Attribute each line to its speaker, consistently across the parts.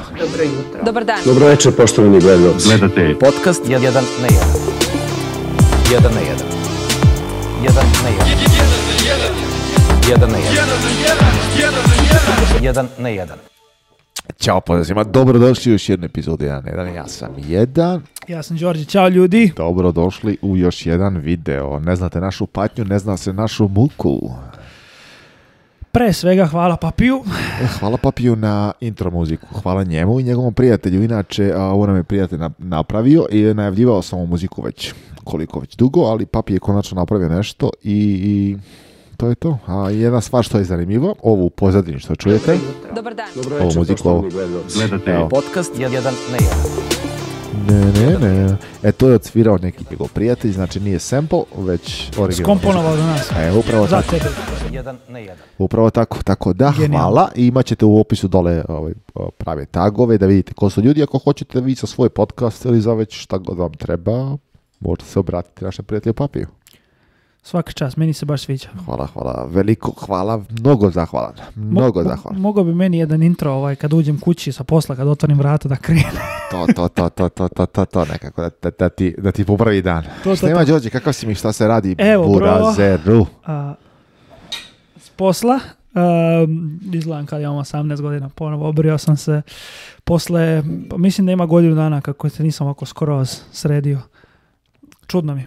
Speaker 1: Dobro jutro.
Speaker 2: Dobar dan.
Speaker 3: Dobro večer, poštovani gledalci.
Speaker 4: Gledate je
Speaker 5: Podcast 1 na 1. 1 na 1. 1 na 1. 1 na 1. 1 na 1.
Speaker 6: Ćao pozdrav dobrodošli u još jednu epizodu 1.1, ja sam jedan,
Speaker 7: Ja sam Đorđe, čao ljudi.
Speaker 6: dobrodošli u još jedan video, ne znate našu patnju, ne zna se našu muku.
Speaker 7: Pre svega hvala Papiju.
Speaker 6: E, hvala Papiju na intro muziku, hvala njemu i njegovom prijatelju, inače a, ovo nam je prijatelj nap- napravio i najavljivao sam ovu muziku već koliko već dugo, ali Papi je konačno napravio nešto i, i to je to. A jedna stvar što je zanimljiva, ovu pozadinu što čujete,
Speaker 2: Dobar dan.
Speaker 3: Dobro
Speaker 6: Ovu
Speaker 3: večer,
Speaker 6: muziku,
Speaker 3: poštovani
Speaker 6: ovo.
Speaker 3: gledalci.
Speaker 4: Gledate je
Speaker 6: Evo.
Speaker 5: Podcast 1 na 1.
Speaker 6: Ne, ne, ne. E, to je odsvirao neki njegov prijatelj, znači nije sample, već originalno.
Speaker 7: Skomponovao za nas.
Speaker 6: E, upravo
Speaker 7: Za
Speaker 6: tako,
Speaker 7: tebe.
Speaker 5: 1 na 1.
Speaker 6: upravo tako, tako da,
Speaker 7: Genijalno.
Speaker 6: hvala i imat ćete u opisu dole ovaj, prave tagove da vidite ko su ljudi, ako hoćete vi za svoj podcast ili za već šta god vam treba, možete se obratiti našem prijatelju Papiju.
Speaker 7: Svaka čast, meni se baš sviđa.
Speaker 6: Hvala, hvala, veliko hvala, mnogo zahvalan,
Speaker 7: Mo-
Speaker 6: mnogo
Speaker 7: mo-
Speaker 6: zahvalan.
Speaker 7: Mogao bi meni jedan intro ovaj, kad uđem kući sa posla, kad otvorim vrata da krene.
Speaker 6: To, to, to, to, to, to, to, to, nekako, da, da, da ti, da ti popravi dan.
Speaker 7: to,
Speaker 6: Šta ima,
Speaker 7: to.
Speaker 6: Đorđe, kakav si mi, šta se radi,
Speaker 7: Evo, bro.
Speaker 6: burazeru?
Speaker 7: A, s posla, um, izgledam kad imam 18 godina, ponovo obrio sam se. Posle, pa mislim da ima godinu dana kako se nisam ovako skroz sredio. Čudno mi.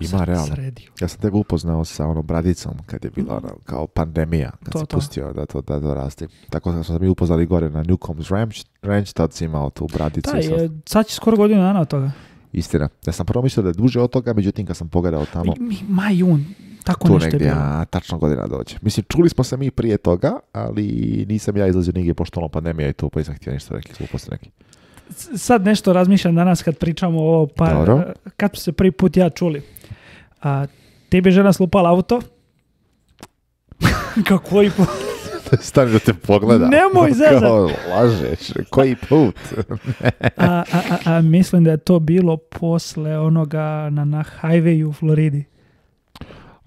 Speaker 6: Ima, realno.
Speaker 7: Sredio.
Speaker 6: Ja sam tebe upoznao sa onom bradicom kad je bila ono, kao pandemija, kad
Speaker 7: Mhm. To,
Speaker 6: si
Speaker 7: to.
Speaker 6: pustio da to, da to rasti. Tako da smo se mi upoznali gore na Newcomb's Ranch, Ranch tad si imao tu bradicu.
Speaker 7: Taj,
Speaker 6: i sad-
Speaker 7: e, sad će skoro godinu dana od toga.
Speaker 6: Istina. Ja sam prvo mislio da je duže od toga, međutim kad sam pogledao tamo,
Speaker 7: Mi- Maj, jun, tako
Speaker 6: tu
Speaker 7: nešto je
Speaker 6: negdje,
Speaker 7: bilo.
Speaker 6: a, tačno godina dođe. Mislim, čuli smo se mi prije toga, ali nisam ja izlazio nigdje pošto ono pandemija i to, pa nisam htio ništa reći, glupo sam neki.
Speaker 7: sad nešto razmišljam danas kad pričamo ovo par,
Speaker 6: Dobro.
Speaker 7: kad smo se prvi put ja čuli. A, tebi je žena slupala auto? Ka koji put?
Speaker 6: Stani da te pogleda.
Speaker 7: Nemoj zezat.
Speaker 6: Kao, lažeš, koji put?
Speaker 7: A, a, a, a, mislim da je to bilo posle onoga na, na highwayu u Floridi.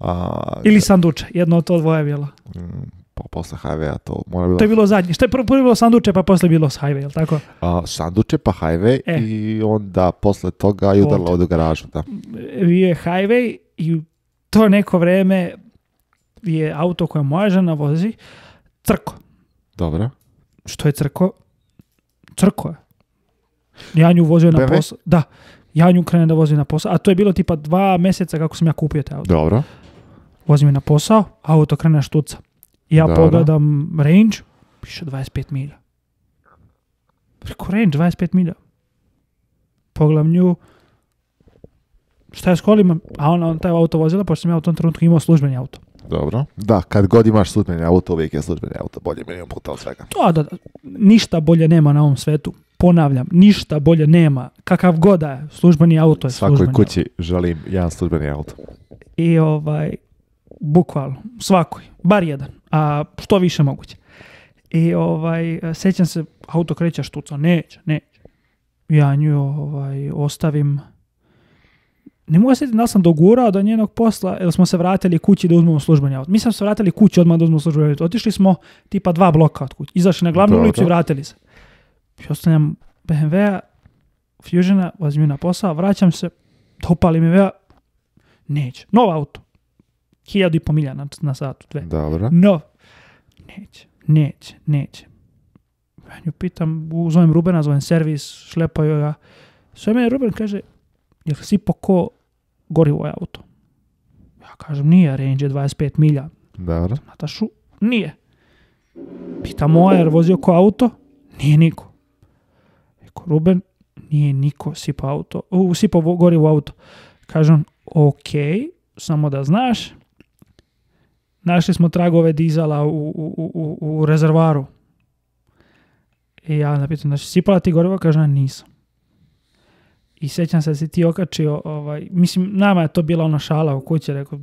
Speaker 6: A,
Speaker 7: Ili sanduče, jedno od to dvoje je bilo.
Speaker 6: mm, po, posle HV-a to mora bila
Speaker 7: To je bilo zadnje. Što je prvo, prvo bilo sanduče, pa posle bilo s highway, jel tako?
Speaker 6: a, sanduče pa hajve
Speaker 7: E.
Speaker 6: i onda posle toga je udarla od garažu. Da.
Speaker 7: E, Bio je highway i u to neko vreme je auto koje moja žena vozi crko.
Speaker 6: Dobro.
Speaker 7: Što je crko? Crko je. Ja nju vozio na
Speaker 6: BMW?
Speaker 7: posao. Da, ja nju krenem da vozim na posao. A to je bilo tipa dva meseca kako sam ja kupio te auto.
Speaker 6: Dobro.
Speaker 7: Vozim je na posao, auto krene štuca. Ja
Speaker 6: Dobro.
Speaker 7: pogledam range, piše 25 milja. Preko range 25 milja. Pogledam nju, šta je s kolima? A ona, on taj auto vozila, pošto sam ja u tom trenutku imao službeni auto.
Speaker 6: Dobro. Da, kad god imaš službeni auto, uvijek je službeni auto. Bolje milijon puta od svega.
Speaker 7: To da, da, ništa bolje nema na ovom svetu. Ponavljam, ništa bolje nema. Kakav god da je, službeni auto je
Speaker 6: Svakoj
Speaker 7: službeni auto.
Speaker 6: kući želim jedan službeni auto.
Speaker 7: I ovaj, bukvalno, svakoj, bar jedan, a što više moguće. I ovaj, sećam se, auto kreće štuca, neće, neće. Ja nju ovaj, ostavim, ne mogu se sjetiti da li sam dogurao do njenog posla, jer smo se vratili kući da uzmemo službeni auto. Mi smo se vratili kući odmah da uzmemo službeni auto. Otišli smo tipa dva bloka od kuće. Izašli na glavnu
Speaker 6: Dobro.
Speaker 7: ulicu i vratili se. I ostavljam BMW-a, Fusiona, vozim ju na posao, vraćam se, dopalim BMW-a, neće. Nov auto. Hiljadu i po milja na, na satu, dve.
Speaker 6: Dobro.
Speaker 7: No, neće, neće, neće. Ja nju pitam, u- zovem Rubena, zovem servis, šlepaju ga. Sve mene Ruben kaže, jel si ko gorivo je auto? Ja kažem, nije, range je 25 milja.
Speaker 6: Dobro.
Speaker 7: Natašu, nije. Pita moja, jer vozio ko auto? Nije niko. Eko, Ruben, nije niko sipa auto, u, sipa vo- gorivo u auto. Kažem, ok, samo da znaš, našli smo tragove dizala u, u, u, u u rezervaru. I ja napitam, znači, sipala ti gorivo? Kaže, "Ne, nisam. I sećam se da si ti okačio, ovaj, mislim, nama je to bila ona šala u kući, rekao,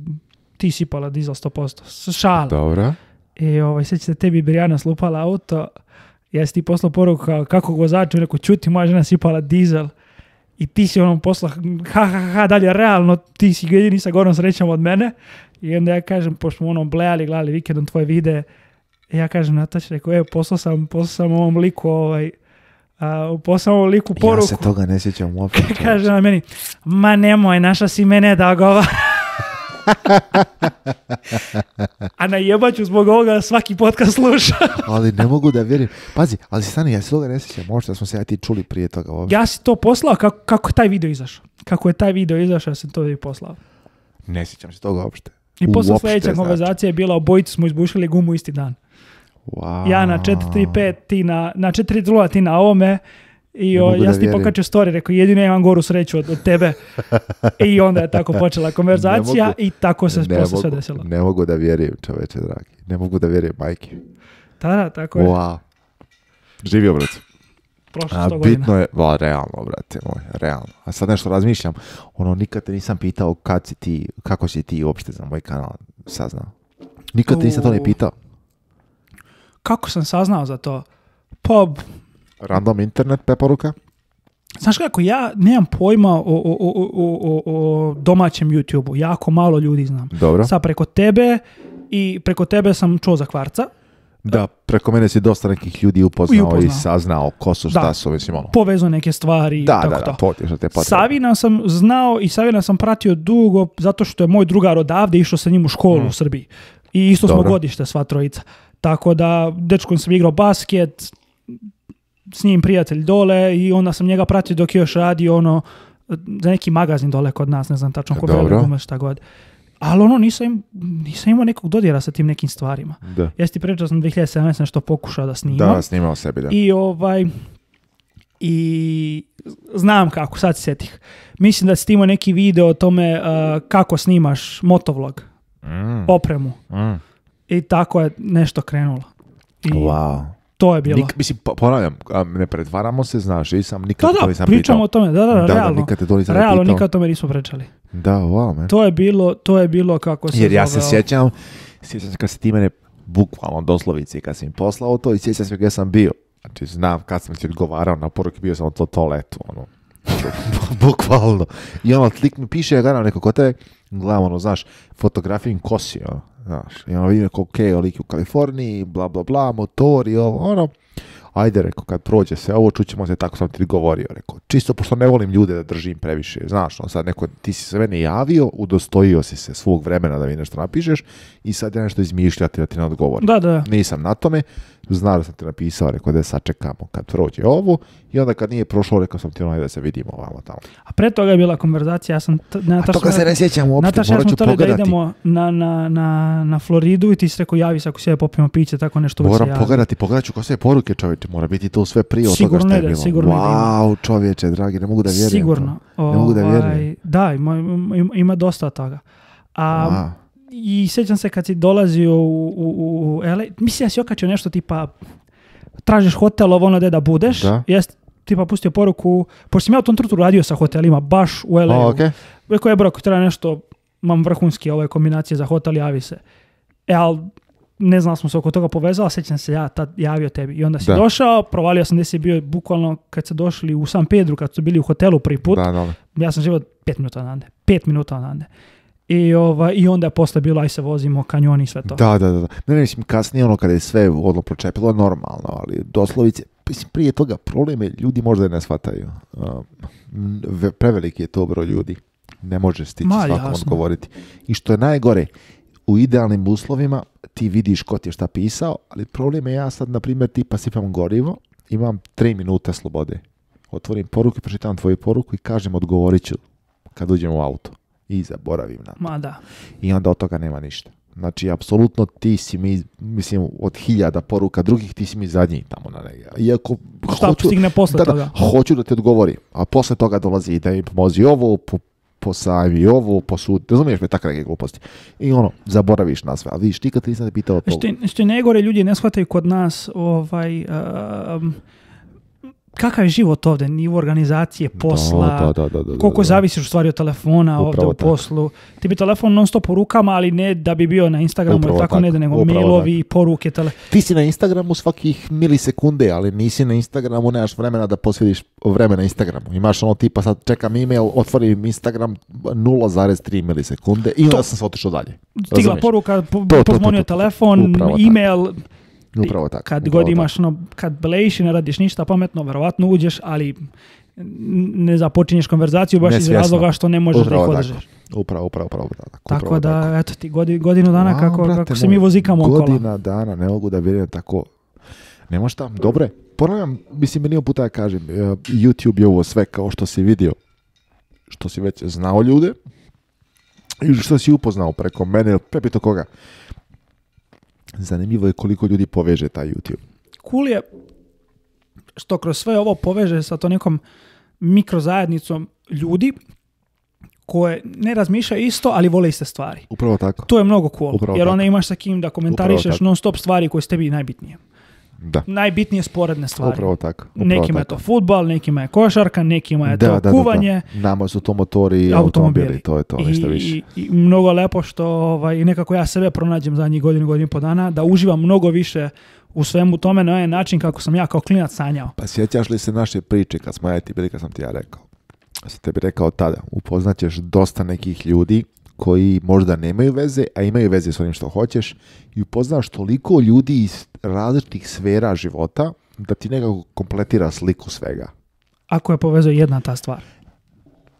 Speaker 7: ti sipala dizel 100%, S- šala.
Speaker 6: Dobro.
Speaker 7: I ovaj, seća se tebi Brijana slupala auto, ja si ti poslao poruku kao, kako vozaču, rekao čuti moja žena sipala dizel i ti si onom posla ha ha ha dalje realno ti si jedini sa gorom srećom od mene i onda ja kažem pošto smo onom blejali gledali e, vikendom tvoje vide ja kažem Nataša rekao evo poslao sam poslao sam ovom liku ovaj a, u poslao liku poruku.
Speaker 6: Ja se toga ne sjećam uopće.
Speaker 7: Kaže na meni, ma nemoj, naša si mene da govara. a najebaću zbog ovoga da svaki podcast sluša.
Speaker 6: ali ne mogu da vjerujem. Pazi, ali stani, ja se toga ne sjećam. Možda smo se ja i ti čuli prije toga uopšte.
Speaker 7: ja si to poslao kako, kako je taj video izašao. Kako je taj video izašao, ja sam to i poslao.
Speaker 6: Ne sjećam se toga uopšte.
Speaker 7: I posle
Speaker 6: Uopšte, znači.
Speaker 7: sledeća konverzacija je bila, obojicu smo izbušili gumu isti dan.
Speaker 6: Wow.
Speaker 7: Ja na 4.35, ti na, na 4.0, ti na ovome. I
Speaker 6: Ne
Speaker 7: o,
Speaker 6: mogu
Speaker 7: ja
Speaker 6: da
Speaker 7: sam ti
Speaker 6: vjerujem.
Speaker 7: pokačio story, rekao jedino ja imam goru sreću od, od tebe. I onda je tako počela konverzacija
Speaker 6: mogu.
Speaker 7: i tako se
Speaker 6: ne
Speaker 7: posle sve
Speaker 6: mogu,
Speaker 7: desilo.
Speaker 6: ne mogu da vjerujem, čoveče dragi. Ne mogu da vjerujem, majke.
Speaker 7: Da, da, tako je.
Speaker 6: Wow. Živio, brate.
Speaker 7: Prošlo
Speaker 6: A,
Speaker 7: 100 godina.
Speaker 6: bitno je, va, realno, brate moj, realno. A sad nešto razmišljam, ono, nikad te nisam pitao kad si ti, kako si ti uopšte za moj kanal saznao. Nikad te nisam to ne
Speaker 7: U.
Speaker 6: pitao.
Speaker 7: Kako sam saznao za to? Pa, b-
Speaker 6: Random internet preporuka?
Speaker 7: znaš kako, ja nemam pojma o, o, o, o- o, o, o domaćem YouTube-u. Jako malo ljudi znam.
Speaker 6: Dobro.
Speaker 7: Sad preko tebe i preko tebe sam čuo za kvarca.
Speaker 6: Da, preko mene si dosta nekih ljudi upoznao i,
Speaker 7: I upoznao.
Speaker 6: saznao ko su,
Speaker 7: Da.
Speaker 6: šta su, mislim, ono.
Speaker 7: Povezao neke stvari i
Speaker 6: da,
Speaker 7: tako
Speaker 6: da, da,
Speaker 7: to.
Speaker 6: to ti je što te potrebno.
Speaker 7: Savina sam znao i Savina sam pratio dugo zato što je moj drugar odavde išao sa njim u školu u Srbiji. I isto
Speaker 6: Mm. Dobro.
Speaker 7: smo godište sva trojica. Tako da dečkom sam igrao basket, s njim prijatelj dole i onda sam njega pratio dok je još radio ono za neki magazin dole kod nas, ne znam tačno ko
Speaker 6: Dobro.
Speaker 7: Vele Gume, šta god. Ali ono nisam, im- nisam imao nekog dodira sa tim nekim stvarima.
Speaker 6: Da.
Speaker 7: Ja si ti pričao da sam 2017 nešto pokušao da snimam.
Speaker 6: Da, snimao sebi, da.
Speaker 7: I ovaj i znam kako, sad se setih. Mislim da si ti imao neki video o tome uh, kako snimaš motovlog,
Speaker 6: Mm,
Speaker 7: opremu.
Speaker 6: mm.
Speaker 7: I tako je nešto krenulo. I
Speaker 6: Wow.
Speaker 7: to je bilo.
Speaker 6: Nik, mislim, po- ponavljam, a, ne pretvaramo se, znaš, i sam nikad
Speaker 7: da,
Speaker 6: to
Speaker 7: da,
Speaker 6: nisam
Speaker 7: pričamo
Speaker 6: pitao.
Speaker 7: o tome, da, da,
Speaker 6: Da, da,
Speaker 7: realno.
Speaker 6: nikad te to nisam ni
Speaker 7: realno,
Speaker 6: pitao.
Speaker 7: nikad o tome nismo pričali.
Speaker 6: Da, wow, man.
Speaker 7: To je bilo, to je bilo kako se
Speaker 6: Jer ja se
Speaker 7: zove ovo.
Speaker 6: sjećam, sjećam se kad si ti mene bukvalno doslovici kad si mi poslao to i sjećam se gdje sam bio. Znači, znam kad sam ti odgovarao na poruke, bio sam u to toaletu, ono. bukvalno. I ono, klik mi piše, ja gledam neko ko te, gledam, ono, znaš, fotografijim kosi, ono, znaš. I ono, vidim neko, okej, lik je u Kaliforniji, bla, bla, bla, motor i ovo, ono. Ajde, rekao, kad prođe sve ovo, čućemo se, tako sam ti govorio, rekao. Čisto, pošto ne volim ljude da držim previše, znaš, on sad neko, ti si se mene javio, udostojio si se svog vremena da mi nešto napišeš i sad ja nešto izmišljati da ti ne odgovorim.
Speaker 7: Da, da,
Speaker 6: Nisam na tome, znao da sam ti napisao, rekao da sačekamo kad prođe ovo i onda kad nije prošlo, rekao sam ti onaj da se vidimo ovamo tamo.
Speaker 7: a pre toga je bila konverzacija, ja sam... T, Nataša-
Speaker 6: sjećam
Speaker 7: Nataša, ja smo htjeli da idemo na, na, na, na Floridu i ti si rekao javi se ako se popijemo piće, tako nešto uvijek se
Speaker 6: Moram
Speaker 7: javi.
Speaker 6: pogledati, pogledat ću ko sve poruke čovječe, mora biti to sve prije od
Speaker 7: Sigurno
Speaker 6: toga što je
Speaker 7: da,
Speaker 6: bilo.
Speaker 7: sigurno da ima.
Speaker 6: wow, čovječe, dragi, ne mogu da vjerujem.
Speaker 7: Sigurno.
Speaker 6: Ne mogu da
Speaker 7: Ovaj,
Speaker 6: vjerujem.
Speaker 7: Da, ima, ima, ima dosta toga. A,
Speaker 6: Wow.
Speaker 7: I sjećam se kad si dolazio u, u, u, u LA, mislim da si okačio nešto tipa tražiš hotel, ovo ono gde da budeš.
Speaker 6: Da.
Speaker 7: Jesi tipa pustio poruku, pošto sam ja u tom trutu radio sa hotelima, baš u LA.
Speaker 6: A,
Speaker 7: -u.
Speaker 6: okej.
Speaker 7: Rekao je, bro, ako treba nešto, imam vrhunski ove kombinacije za hotel, javi se. E, ali ne znam, smo se oko toga povezala, sjećam se ja tad javio tebi. I onda si
Speaker 6: Da.
Speaker 7: došao, provalio sam gdje si bio bukvalno kad se došli u San Pedro, kad su bili u hotelu prvi put.
Speaker 6: Da, da,
Speaker 7: Ja sam živio pet minuta odande. Pet minuta odande. I, ovaj, I onda je posle bilo, aj se vozimo, kanjoni i sve to.
Speaker 6: Da, da, da. da. Ne, ne, mislim, kasnije ono kada je sve odlo pročepilo, normalno, ali doslovice, mislim, prije toga probleme ljudi možda i ne shvataju. Um, ve- preveliki je to broj ljudi. Ne može stići
Speaker 7: Ma,
Speaker 6: svakom
Speaker 7: jasno.
Speaker 6: odgovoriti. I što je najgore, u idealnim uslovima ti vidiš ko ti je šta pisao, ali problem je ja sad, na primjer, tipa sipam gorivo, imam 3 minuta slobode. Otvorim poruku, pročitam tvoju poruku i kažem odgovorit ću kad uđem u auto. I zaboravim na to
Speaker 7: Ma da.
Speaker 6: i onda od toga nema ništa. Znači, apsolutno ti si mi, mislim, od hiljada poruka drugih, ti si mi zadnji tamo na negdje. Iako
Speaker 7: Šta stigne posle
Speaker 6: Pa da,
Speaker 7: toga?
Speaker 6: Da, hoću da ti odgovorim, a posle toga dolazi i da mi pomozi ovo, po, posajmi ovo, posudi, razumiješ me takve neke gluposti. I ono, zaboraviš na sve, ali vidiš, nikad te nisam te pitao to.
Speaker 7: Što, je- što je najgore, ljudi ne shvataju kod nas ovaj, um, kakav je život ovde, nivo organizacije, posla,
Speaker 6: da, da, da, da, da,
Speaker 7: koliko
Speaker 6: da.
Speaker 7: zavisiš u stvari od telefona ovdje
Speaker 6: Upravo
Speaker 7: u
Speaker 6: tako.
Speaker 7: poslu. Ti bi telefon non stop u rukama, ali ne da bi bio na Instagramu
Speaker 6: Upravo
Speaker 7: ili tako,
Speaker 6: tako,
Speaker 7: ne da nego
Speaker 6: upravo
Speaker 7: mailovi, poruke, tele...
Speaker 6: Ti si na Instagramu svakih milisekunde, ali nisi na Instagramu, nemaš vremena da posvediš vreme na Instagramu. Imaš ono tipa, sad čekam email, otvorim Instagram 0,3 milisekunde i onda sam se otišao dalje.
Speaker 7: Stigla
Speaker 6: Razumiješ?
Speaker 7: poruka, po,
Speaker 6: to, to,
Speaker 7: pozvonio
Speaker 6: to, to.
Speaker 7: telefon,
Speaker 6: Upravo tako.
Speaker 7: email,
Speaker 6: Upravo tako.
Speaker 7: Kad
Speaker 6: upravo
Speaker 7: god imaš, ono, kad blejiš i ne radiš ništa pametno, verovatno uđeš, ali ne započinješ konverzaciju baš iz
Speaker 6: Nesvjesno.
Speaker 7: razloga što ne možeš da ih
Speaker 6: Upravo
Speaker 7: održaš.
Speaker 6: tako. Upravo, upravo, upravo, tako.
Speaker 7: Tako
Speaker 6: upravo
Speaker 7: da,
Speaker 6: tako.
Speaker 7: eto ti, godi, godinu dana
Speaker 6: Wow,
Speaker 7: kako,
Speaker 6: brate
Speaker 7: kako se
Speaker 6: moj,
Speaker 7: mi vozikamo okolo.
Speaker 6: Godina dana, ne mogu da vjerujem tako. Nema šta, dobre. Ponavljam, mislim, milion puta ja kažem, e, YouTube je ovo sve kao što si vidio, što si već znao ljude, ili što si upoznao preko mene, ili prepito koga. Zanimljivo je koliko ljudi poveže taj YouTube.
Speaker 7: Cool je što kroz sve ovo poveže sa to nekom mikrozajednicom ljudi koje ne razmišljaju isto, ali vole iste stvari.
Speaker 6: Upravo tako.
Speaker 7: To je mnogo cool,
Speaker 6: Upravo
Speaker 7: jer
Speaker 6: tako.
Speaker 7: onda imaš sa kim da
Speaker 6: Upravo
Speaker 7: komentarišeš
Speaker 6: tako.
Speaker 7: non stop stvari koje su tebi najbitnije.
Speaker 6: Da.
Speaker 7: Najbitnije sporedne stvari.
Speaker 6: Upravo tako. Upravo
Speaker 7: nekima je
Speaker 6: tako.
Speaker 7: to futbal, nekima je košarka, nekima je to kuvanje,
Speaker 6: Da, da. Nama su to motori i
Speaker 7: automobili.
Speaker 6: automobili, to je to, ništa
Speaker 7: I,
Speaker 6: više.
Speaker 7: i- i mnogo je lepo što ovaj, nekako ja sebe pronađem zadnjih godinu, godinu i po dana, da uživam mnogo više u svemu tome na onaj način kako sam ja kao klinac sanjao.
Speaker 6: Pa sjećaš li se naše priče kad smo ja i ti bili, kad sam ti ja rekao? Kad sam tebi rekao tada, upoznaćeš dosta nekih ljudi koji možda nemaju veze, a imaju veze s onim što hoćeš i upoznaš toliko ljudi iz različitih sfera života da ti nekako kompletira sliku svega.
Speaker 7: Ako je povezuje jedna ta stvar.